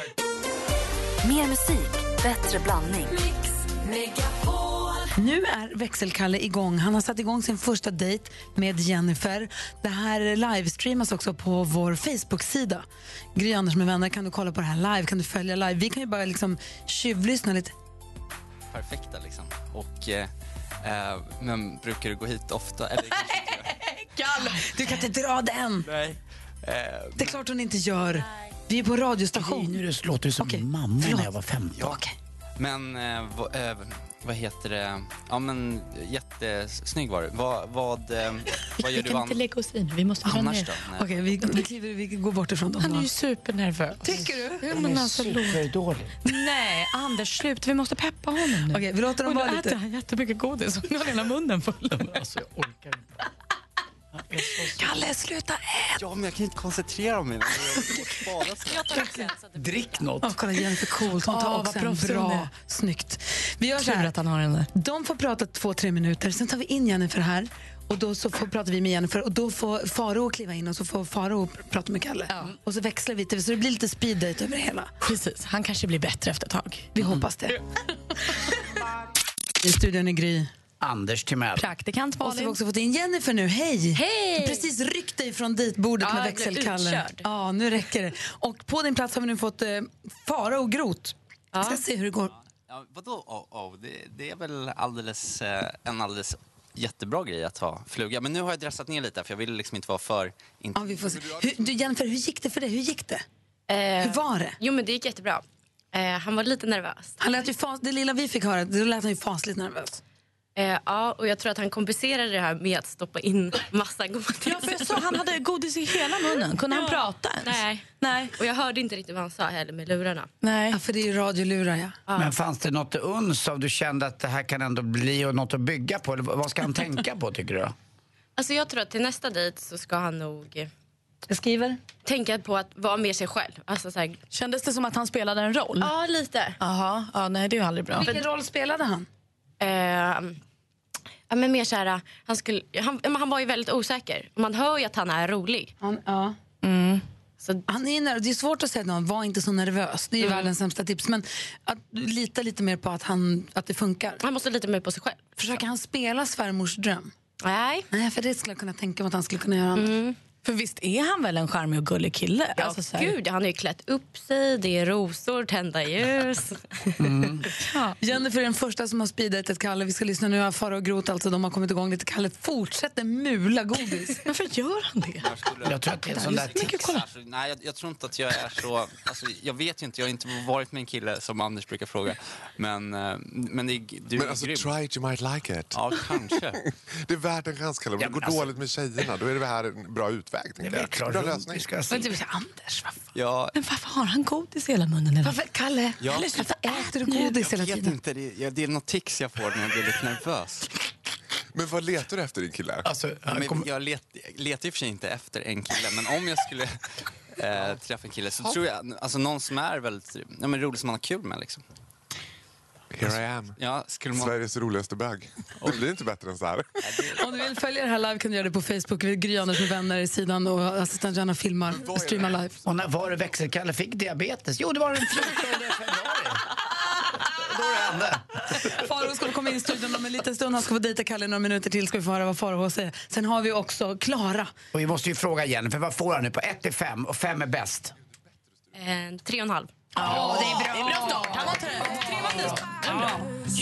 [SPEAKER 1] Mer musik, bättre blandning.
[SPEAKER 7] Nu är Växelkalle igång. Han har satt igång sin första dejt med Jennifer. Det här livestreamas också på vår Facebook-sida. Gry Anders med vänner kan du kolla på det här live, kan du följa live. Vi kan ju bara liksom tjuvlyssna lite.
[SPEAKER 14] perfekta. Liksom. Och, eh, eh, men brukar du gå hit ofta? Eller kanske inte gör.
[SPEAKER 7] Kalle, du kan inte dra den!
[SPEAKER 14] Nej. Eh,
[SPEAKER 7] Det är klart hon inte gör. Vi är på radiostation.
[SPEAKER 3] Nu det låter du som mamma när jag var 15.
[SPEAKER 14] Ja. Men eh, vad, eh, vad heter det? Ja, men jättesnygg var du. Vad, vad, eh, vad gör
[SPEAKER 5] Vi
[SPEAKER 14] du
[SPEAKER 5] kan inte
[SPEAKER 14] annars?
[SPEAKER 5] lägga oss i nu, vi måste ha
[SPEAKER 14] Annars
[SPEAKER 5] ner.
[SPEAKER 14] då? Nej.
[SPEAKER 7] Okej, vi, vi, kliver, vi går bort ifrån dem.
[SPEAKER 5] Han är
[SPEAKER 7] då.
[SPEAKER 5] ju supernervös. Tycker
[SPEAKER 7] du?
[SPEAKER 5] Ja, men alltså, Lo-
[SPEAKER 3] dålig.
[SPEAKER 5] Nej, Anders, sluta. Vi måste peppa honom nu.
[SPEAKER 7] Okej, vi låter dem
[SPEAKER 5] Och
[SPEAKER 7] vara
[SPEAKER 5] nu
[SPEAKER 7] lite.
[SPEAKER 5] äter han jättemycket godis och nu har hela munnen full.
[SPEAKER 14] Alltså, jag orkar inte.
[SPEAKER 7] Kalle, sluta ät!
[SPEAKER 14] Ja, men jag kan inte koncentrera mig. Jag
[SPEAKER 5] tar också en.
[SPEAKER 3] Drick något.
[SPEAKER 7] Ja, kolla Jennifer coolt. Hon tar
[SPEAKER 5] Åh,
[SPEAKER 7] också
[SPEAKER 5] vad
[SPEAKER 7] en
[SPEAKER 5] proffsig hon
[SPEAKER 7] bra.
[SPEAKER 5] är.
[SPEAKER 7] Snyggt. Vi gör så
[SPEAKER 5] Tur
[SPEAKER 7] här.
[SPEAKER 5] att han har den där.
[SPEAKER 7] De får prata två, tre minuter, sen tar vi in Jennifer här. Och då så får, pratar vi med Jennifer och då får Faro kliva in och så får Faro prata med Kalle. Och så växlar vi till, så det blir lite speed date över det hela.
[SPEAKER 5] Precis, han kanske blir bättre efter ett tag. Mm.
[SPEAKER 7] Vi hoppas det. I studion är Gry.
[SPEAKER 3] Anders Timell.
[SPEAKER 5] Praktikant
[SPEAKER 7] Och så har vi
[SPEAKER 5] Malin.
[SPEAKER 7] också fått in Jennifer nu. Hej!
[SPEAKER 5] Hej!
[SPEAKER 7] Du har precis ryckt dig från ditbordet
[SPEAKER 5] Ja,
[SPEAKER 7] med
[SPEAKER 5] jag blev
[SPEAKER 7] växelkallen.
[SPEAKER 5] utkörd.
[SPEAKER 7] Ja, nu räcker det. Och på din plats har vi nu fått eh, Faro och Grot. Vi ska se hur det går.
[SPEAKER 14] Ja, vadå oh, oh, det, det är väl alldeles, eh, en alldeles jättebra grej att ha fluga. Men nu har jag dressat ner lite för jag ville liksom inte vara för... In-
[SPEAKER 7] Ja, vi får se. Hur, du, Jennifer, hur gick det för dig? Hur gick det?
[SPEAKER 5] Eh.
[SPEAKER 7] Hur var det?
[SPEAKER 8] Jo men det gick jättebra. Eh, han var lite nervös.
[SPEAKER 7] Han lät ju fas, det lilla vi fick höra, då lät han ju fasligt nervös.
[SPEAKER 8] Eh, ja och jag tror att han kompenserade det här med att stoppa in massa godis.
[SPEAKER 5] Ja, för jag sa han hade godis i hela munnen. Kunde han prata ens?
[SPEAKER 8] Nej.
[SPEAKER 5] Nej.
[SPEAKER 8] Och jag hörde inte riktigt vad han sa heller med lurarna.
[SPEAKER 7] Nej. Ja, för det är ju radiolurar, ja.
[SPEAKER 3] Men fanns det något uns av du kände att det här kan ändå bli och något att bygga på? Eller vad ska han tänka på tycker du?
[SPEAKER 8] Alltså jag tror att till nästa dejt så ska han nog eh,
[SPEAKER 7] Jag skriver.
[SPEAKER 8] tänka på att vara mer sig själv. Alltså så här,
[SPEAKER 5] Kändes det som att han spelade en roll?
[SPEAKER 8] ja lite.
[SPEAKER 5] Jaha, ja, nej det är ju aldrig bra.
[SPEAKER 7] Vilken roll spelade han?
[SPEAKER 8] Eh, ja, men mer så här, han, skulle, han, men han var ju väldigt osäker. Man hör ju att han är rolig.
[SPEAKER 7] Han, ja.
[SPEAKER 5] Mm.
[SPEAKER 7] Han är nervös. Det är svårt att säga till honom, var inte så nervös. Det är ju
[SPEAKER 8] Mm.
[SPEAKER 7] världens sämsta tips. Men att lita lite mer på att, han, att det funkar.
[SPEAKER 8] Han måste lita mer på sig själv.
[SPEAKER 7] Försöker han spela svärmors dröm?
[SPEAKER 8] Nej. Mm.
[SPEAKER 7] Nej, för det skulle jag kunna tänka mig att han skulle kunna göra.
[SPEAKER 5] För visst är han väl en charmig och gullig kille?
[SPEAKER 8] Ja,
[SPEAKER 5] Alltså, så här-
[SPEAKER 8] gud, han har ju klätt upp sig, det är rosor, tända ljus.
[SPEAKER 3] Mm.
[SPEAKER 7] Jennifer är den första som har speeddejtat Kalle. Vi ska lyssna nu. av Farao och Groth, alltså, de har kommit igång lite. Kalle fortsätter mula godis.
[SPEAKER 5] Varför gör han det?
[SPEAKER 3] Jag tror att det är en sån där tics.
[SPEAKER 14] Alltså, nej, jag, jag tror inte att jag är så... Alltså, jag vet ju inte, jag har inte varit med en kille som Anders brukar fråga. Men, eh, men det, du är
[SPEAKER 19] Men alltså,
[SPEAKER 14] grym.
[SPEAKER 19] try it, you might like it.
[SPEAKER 14] Ja, kanske.
[SPEAKER 19] Det är värt en chans, Kalle. Om
[SPEAKER 14] Ja,
[SPEAKER 19] det
[SPEAKER 14] men
[SPEAKER 19] går
[SPEAKER 14] alltså-
[SPEAKER 19] dåligt med tjejerna, då är det här en bra utväg. tänker jag. bra lösning.
[SPEAKER 7] Men
[SPEAKER 8] typ
[SPEAKER 7] du, Anders, vad fan?
[SPEAKER 14] typ- Ja,
[SPEAKER 5] Men varför har han godis i hela munnen? Eller?
[SPEAKER 7] Varför, Kalle,
[SPEAKER 14] Ja.
[SPEAKER 7] Kalle, sluta äter du godis hela
[SPEAKER 14] jag vet
[SPEAKER 7] tiden?
[SPEAKER 14] inte, det, jag, det är något tics jag får när jag blir lite nervös.
[SPEAKER 19] Men vad letar du efter, din kille?
[SPEAKER 14] Ja, men Jag let, letar i och för sig inte efter en kille, men om jag skulle eh, träffa en kille så tror jag alltså, någon som är väldigt ja, men rolig, som man har kul med. Liksom.
[SPEAKER 19] Here I am.
[SPEAKER 14] Ja, skulle man...
[SPEAKER 19] Sveriges roligaste bög. Det blir inte bättre än så här.
[SPEAKER 7] Om du vill följa det här live kan du göra det på Facebook. Vi Gry Anders med vänner i sidan och assistent Johanna filmar och streamar live.
[SPEAKER 3] Och när var det växelkalle fick diabetes? Jo, det var den 14 februari. Då det hände.
[SPEAKER 7] Faro ska få komma in i studion om en liten stund. Han ska få dejta Kalle i några minuter till. Ska vi få höra vad Faro har att säga. Sen har vi också Klara.
[SPEAKER 3] Och vi måste ju fråga Jennifer, vad får han nu på 1 till 5 och 5 är bäst?
[SPEAKER 8] Eh, tre och en halv.
[SPEAKER 5] Ja, det är bra. Det är bra start. Han var trött. Tre var dit.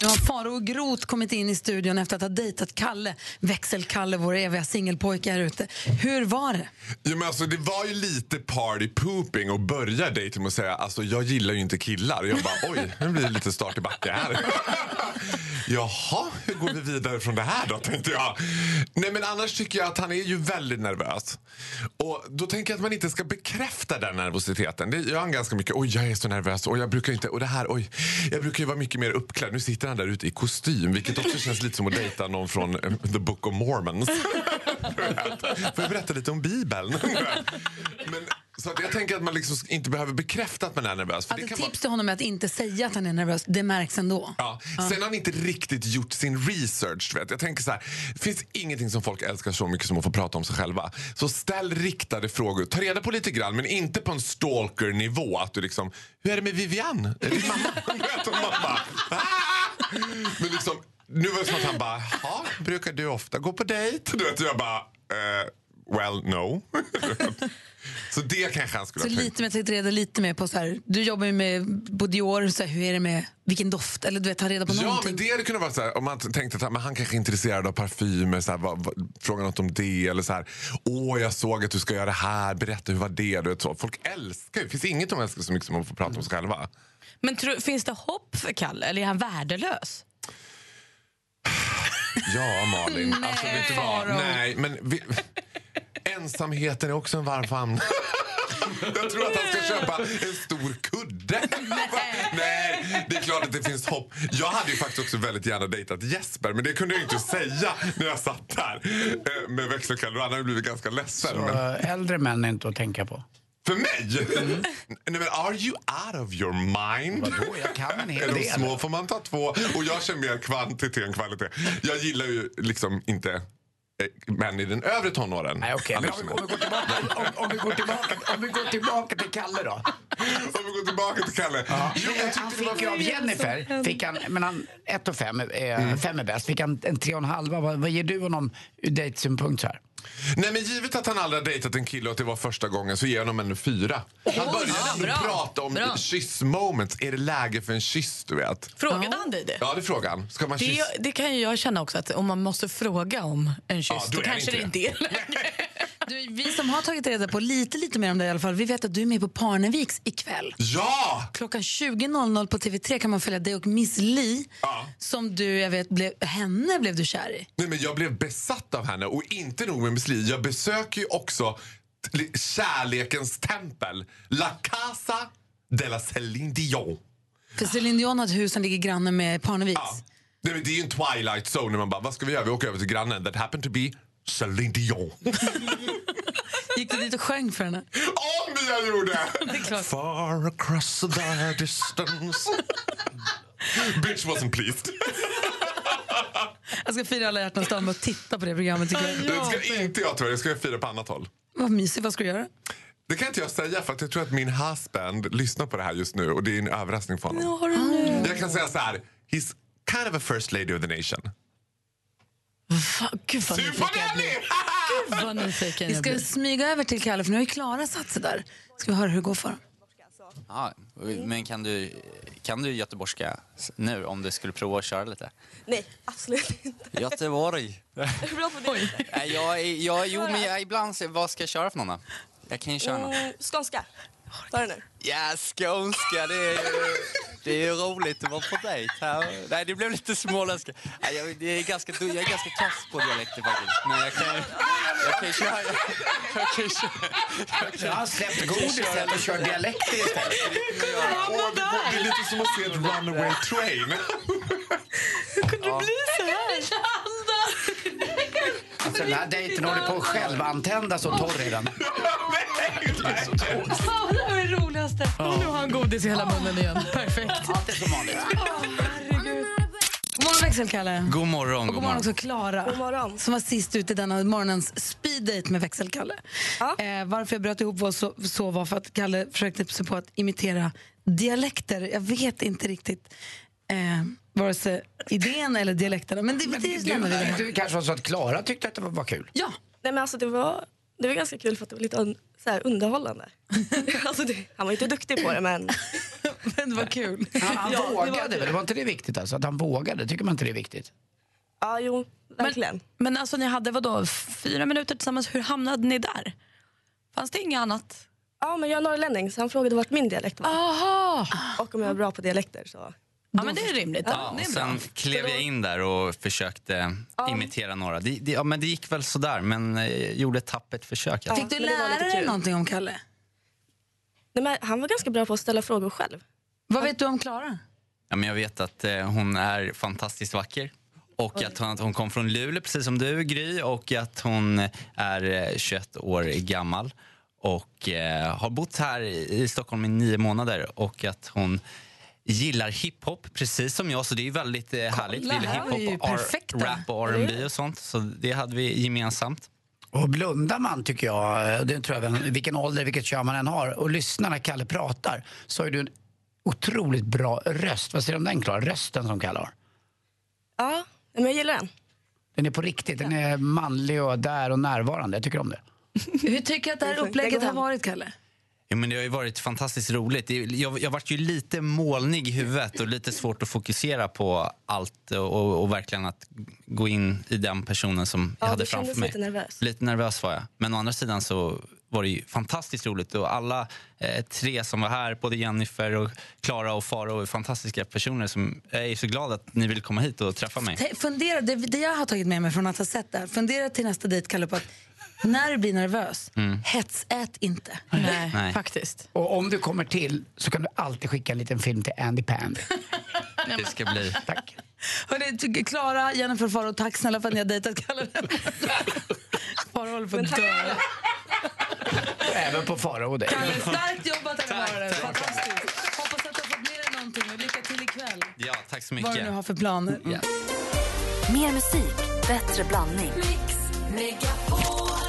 [SPEAKER 7] Nu har Faro Grot kommit in i studion efter att ha dejtat Kalle, växelkalle, vår eviga singelpojke här ute. Hur var det?
[SPEAKER 19] Ja, men alltså, det var ju lite party pooping och börja dejten med att säga alltså jag gillar ju inte killar. Och jag bara oj, nu blir det lite start i backe här. Jaha, hur går vi vidare från det här då tänkte jag. Nej men annars tycker jag att han är ju väldigt nervös. Och då tänker jag att man inte ska bekräfta den nervositeten. Det gör han ganska mycket. Oj, jag är så nervös. Och jag brukar inte, och det här, oj. Jag brukar ju vara mycket mer uppklädd. Nu sitter han där ute i kostym, vilket också känns lite som att dejta någon från eh, The Book of Mormons. Får jag berätta lite om Bibeln? Men, så att jag tänker att man liksom inte behöver bekräfta att man är nervös. För det
[SPEAKER 7] Alltså,
[SPEAKER 19] kan vara-
[SPEAKER 7] tips till honom är att inte säga att han är nervös. Det märks ändå.
[SPEAKER 19] Ja. Sen har han inte riktigt gjort sin research. du Vet. Jag tänker så här, det finns ingenting som folk älskar så mycket som att få prata om sig själva. Så ställ riktade frågor. Ta reda på lite grann, men inte på en stalker-nivå. Att du liksom, hur är det med Vivian? Är det mamma? Du vet, och man bara, "Ah!" men liksom, nu var det som att han bara, "Jaha, brukar du ofta gå på dejt? Du vet, och jag bara, eh, well no. så det kanske han skulle
[SPEAKER 7] Så
[SPEAKER 19] ha tänkt.
[SPEAKER 7] lite mer, ta reda lite mer på så här, du jobbar ju med på Dior, så här, hur är det med, vilken doft? Eller du vet, ta reda på
[SPEAKER 19] Ja,
[SPEAKER 7] någonting.
[SPEAKER 19] men det hade kunnat vara så här, om man tänkte att men han kanske är intresserad av parfymer, så här, vad, vad, fråga något om det eller så här, åh jag såg att du ska göra det här, berätta hur var det? Du vet, så. Folk älskar ju, det finns inget de älskar så mycket som att få prata om sig själva.
[SPEAKER 5] Men tro, finns det hopp för Kalle eller är han värdelös?
[SPEAKER 19] Ja Malin,
[SPEAKER 5] Nej,
[SPEAKER 19] alltså vet du vad?
[SPEAKER 5] Faro.
[SPEAKER 19] Nej, men vi, ensamheten är också en varm famn. Jag tror att han ska köpa en stor kudde. Nej, det är klart att det finns hopp. Jag hade ju faktiskt också väldigt gärna dejtat Jesper, men det kunde jag ju inte säga när jag satt där eh, med växelkalle. Han hade blivit ganska ledsen.
[SPEAKER 3] Så
[SPEAKER 19] men...
[SPEAKER 3] eh, äldre män är inte att tänka på.
[SPEAKER 19] För mig? Mm. Nej, men are you out of your mind? Vadå,
[SPEAKER 3] jag kan en hel
[SPEAKER 19] Är de
[SPEAKER 3] del.
[SPEAKER 19] små får man ta två. Och jag kör mer kvantitet än kvalitet. Jag gillar ju liksom inte eh, män i den övre tonåren. Nej,
[SPEAKER 3] okej. Men om vi- om vi går tillbaka- om- om vi går tillbaka- om vi går tillbaka till Kalle då.
[SPEAKER 19] Om vi går tillbaka till Kalle. Jo, jag tyckte
[SPEAKER 3] han
[SPEAKER 19] det var-
[SPEAKER 3] fick ju av Jennifer, fick han, men han, ett och fem, eh, fem är bäst. Fick han en tre och en halva. Vad, vad ger du honom ur dejtsynpunkt så här?
[SPEAKER 19] Nej, men givet att han aldrig har dejtat en kille och att det var första gången så ger jag honom en fyra. Han
[SPEAKER 5] Oj,
[SPEAKER 19] började
[SPEAKER 5] ja,
[SPEAKER 19] ändå
[SPEAKER 5] bra.
[SPEAKER 19] prata om
[SPEAKER 5] Bra.
[SPEAKER 19] kyss-moments. Är det läge för en kyss, du vet?
[SPEAKER 5] Frågade han dig det?
[SPEAKER 19] Ja, det är frågan. Ska man
[SPEAKER 5] Det,
[SPEAKER 19] kyssa?
[SPEAKER 5] det kan ju jag känna också, att om man måste fråga om en kyss,
[SPEAKER 19] Ja, då
[SPEAKER 5] då,
[SPEAKER 19] är det
[SPEAKER 5] kanske det
[SPEAKER 19] inte
[SPEAKER 5] inte är det.
[SPEAKER 7] Du, vi som har tagit reda på lite, lite mer om dig i alla fall, vi vet att du är med på Parneviks ikväll.
[SPEAKER 19] Ja!
[SPEAKER 7] Klockan 20.00 på TV3 kan man följa dig och Miss Li, som du, jag vet, blev, henne blev du kär i.
[SPEAKER 19] Nej, men jag blev besatt av henne. Och inte nog med Miss Li, jag besöker ju också t- kärlekens tempel. La Casa de la Céline Dion.
[SPEAKER 7] För Céline Dion har ett hus som ligger granne med Parneviks.
[SPEAKER 19] Nej, men det är ju en twilight zone när man bara, vad ska vi göra? Vi åker över till grannen. That happened to be Céline Dion.
[SPEAKER 7] Gick du dit och sjöng för henne?
[SPEAKER 19] Om jag gjorde! Far across the distance Bitch wasn't pleased.
[SPEAKER 7] Jag ska fira alla hjärtans dag med att titta på det programmet. Tycker jag.
[SPEAKER 19] Det ska inte jag tyvärr, det ska jag fira på annat håll.
[SPEAKER 7] Vad mysigt, vad ska du göra?
[SPEAKER 19] Det kan inte jag säga för att jag tror att min husband lyssnar på det här just nu och det är en överraskning för honom.
[SPEAKER 5] eh,
[SPEAKER 19] Jag kan säga så här, he's kind of a first lady of the nation.
[SPEAKER 5] Fan, gud vad nyfiken jag blir. Gud vad nyfiken
[SPEAKER 7] Ah. Vi
[SPEAKER 5] jag
[SPEAKER 7] ska
[SPEAKER 5] blir.
[SPEAKER 7] smyga över till Kalle, för nu har ju Klara satt sig där. Ska vi höra hur det går för honom?
[SPEAKER 20] Ja, men kan du, kan du göteborgska nu om du skulle prova att köra lite?
[SPEAKER 2] Nej, absolut inte.
[SPEAKER 20] Göteborg.
[SPEAKER 2] Hur bra på det?
[SPEAKER 20] Nej, jag, är- jag, jo, men jag, ibland, så- vad ska jag köra för någon då? Jag kan ju köra någon.
[SPEAKER 2] Mm, skånska. Ta det nu.
[SPEAKER 20] Ja, skånska, det är, ju, det är ju roligt att vara på dejt här. Nej, det blev lite småländska. Nej, jag, det är ganska, du- jag är ganska kass på dialekter faktiskt. Men jag kan ju jag kan ju köra... Jag, jag kan ju köra...
[SPEAKER 3] Jag har släppt godiset och kör dialekter istället.
[SPEAKER 19] Åh, det, var, det är lite som att se ett runaway train.
[SPEAKER 3] Ja.
[SPEAKER 7] så här?
[SPEAKER 3] Alltså, den här dejten håller på att självantändas och torr i den.
[SPEAKER 7] Oh, det här var det roligaste.
[SPEAKER 5] Nu har han godis i hela munnen igen. Perfekt.
[SPEAKER 3] det är som vanligt.
[SPEAKER 7] God morgon växelkalle.
[SPEAKER 20] God morgon,
[SPEAKER 7] Och god morgon också Klara. Som var sist ut i denna morgonens speeddate med växelkalle. Eh, varför jag bröt ihop var så, så var för att Kalle försökte sig på att imitera dialekter. Jag vet inte riktigt eh, vare sig idén eller dialekterna. Men det, det lämnar vi
[SPEAKER 3] Du,
[SPEAKER 7] därhän.
[SPEAKER 3] du kanske var så att Klara tyckte att det var, var kul?
[SPEAKER 7] Ja.
[SPEAKER 2] Nej, men alltså det var Det var ganska kul för att det var lite un- så här underhållande. alltså det, han var inte duktig på det men...
[SPEAKER 7] men det var kul.
[SPEAKER 3] Han, han
[SPEAKER 2] Ja, det var
[SPEAKER 3] vågade
[SPEAKER 2] kul.
[SPEAKER 3] väl? Var inte det viktigt alltså? Att han vågade? Tycker man inte det är viktigt?
[SPEAKER 2] Ja, jo, verkligen.
[SPEAKER 5] Men alltså ni hade vadå, fyra minuter tillsammans, hur hamnade ni där? Fanns det inget annat?
[SPEAKER 2] Ja, men jag är norrlänning så han frågade vart min dialekt var.
[SPEAKER 5] Aha.
[SPEAKER 2] Och om jag är bra på dialekter så...
[SPEAKER 5] Ja, men det är rimligt.
[SPEAKER 2] Ja,
[SPEAKER 14] och sen klev jag in där och försökte imitera några. Det, det, ja, men det gick väl sådär, men eh, gjorde ett tappert försök. jag tror.
[SPEAKER 7] Fick du lära dig någonting om Kalle?
[SPEAKER 2] Nej, men han var ganska bra på att ställa frågor själv.
[SPEAKER 7] Vad vet du om Klara?
[SPEAKER 14] Ja, men jag vet att eh, hon är fantastiskt vacker. Och att hon, att hon kom från Luleå, precis som du, Gry. Och att hon är eh, 21 år gammal och eh, har bott här i i Stockholm i nio månader. Och att hon gillar hiphop, precis som jag. Så det är ju väldigt eh, härligt. Vi gillar
[SPEAKER 3] här var vi ju
[SPEAKER 14] hiphop, och
[SPEAKER 3] perfekta.
[SPEAKER 14] R- rap och R&B och sånt. Så det hade vi gemensamt.
[SPEAKER 3] Och blundar man, tycker jag, och det tror jag, vem- vilken ålder, vilket kön man än har, och lyssnar när Kalle pratar, så har du en otroligt bra röst. Vad säger du om den, Klara? Rösten som Kalle har.
[SPEAKER 2] Ja, men jag gillar den.
[SPEAKER 3] Den är på riktigt. Den är manlig och där och närvarande. Jag tycker om det.
[SPEAKER 7] Hur tycker du att det här upplägget har varit, Kalle?
[SPEAKER 14] Ja, men det har ju varit fantastiskt roligt. Det- Jag, jag vart ju lite molnig i huvudet och lite svårt att fokusera på allt och, och verkligen att gå in i den personen som jag
[SPEAKER 2] Ja,
[SPEAKER 14] hade
[SPEAKER 2] du
[SPEAKER 14] framför
[SPEAKER 2] kändes
[SPEAKER 14] mig.
[SPEAKER 2] lite nervös.
[SPEAKER 14] Lite nervös var jag. Men å andra sidan så var det ju fantastiskt roligt och alla eh, tre som var här, både Jennifer och Klara och Faro är fantastiska personer som jag är så glad att ni vill komma hit och träffa mig.
[SPEAKER 7] Te- Fundera, det, det jag har tagit med mig från att ha sett det här, fundera till nästa dejt, Kalle, på att när du blir nervös,
[SPEAKER 3] Mm.
[SPEAKER 7] hetsät inte.
[SPEAKER 3] Nej.
[SPEAKER 5] faktiskt.
[SPEAKER 3] Och om du kommer till så kan du alltid skicka en liten film till Andy Pandy.
[SPEAKER 14] Det ska bli.
[SPEAKER 3] Tack.
[SPEAKER 7] Hörrni, ty- Klara, Jennifer, Farao, tack snälla för att ni har dejtat Kalle. Farao håller på att dö.
[SPEAKER 3] Även på Farao och dig.
[SPEAKER 7] Kalle, starkt jobbat den här morgonen. Fantastiskt. Hoppas att du har fått med dig någonting och lycka till ikväll.
[SPEAKER 14] Ja, tack så mycket.
[SPEAKER 7] Vad du nu har för planer.
[SPEAKER 1] Mer musik, bättre blandning.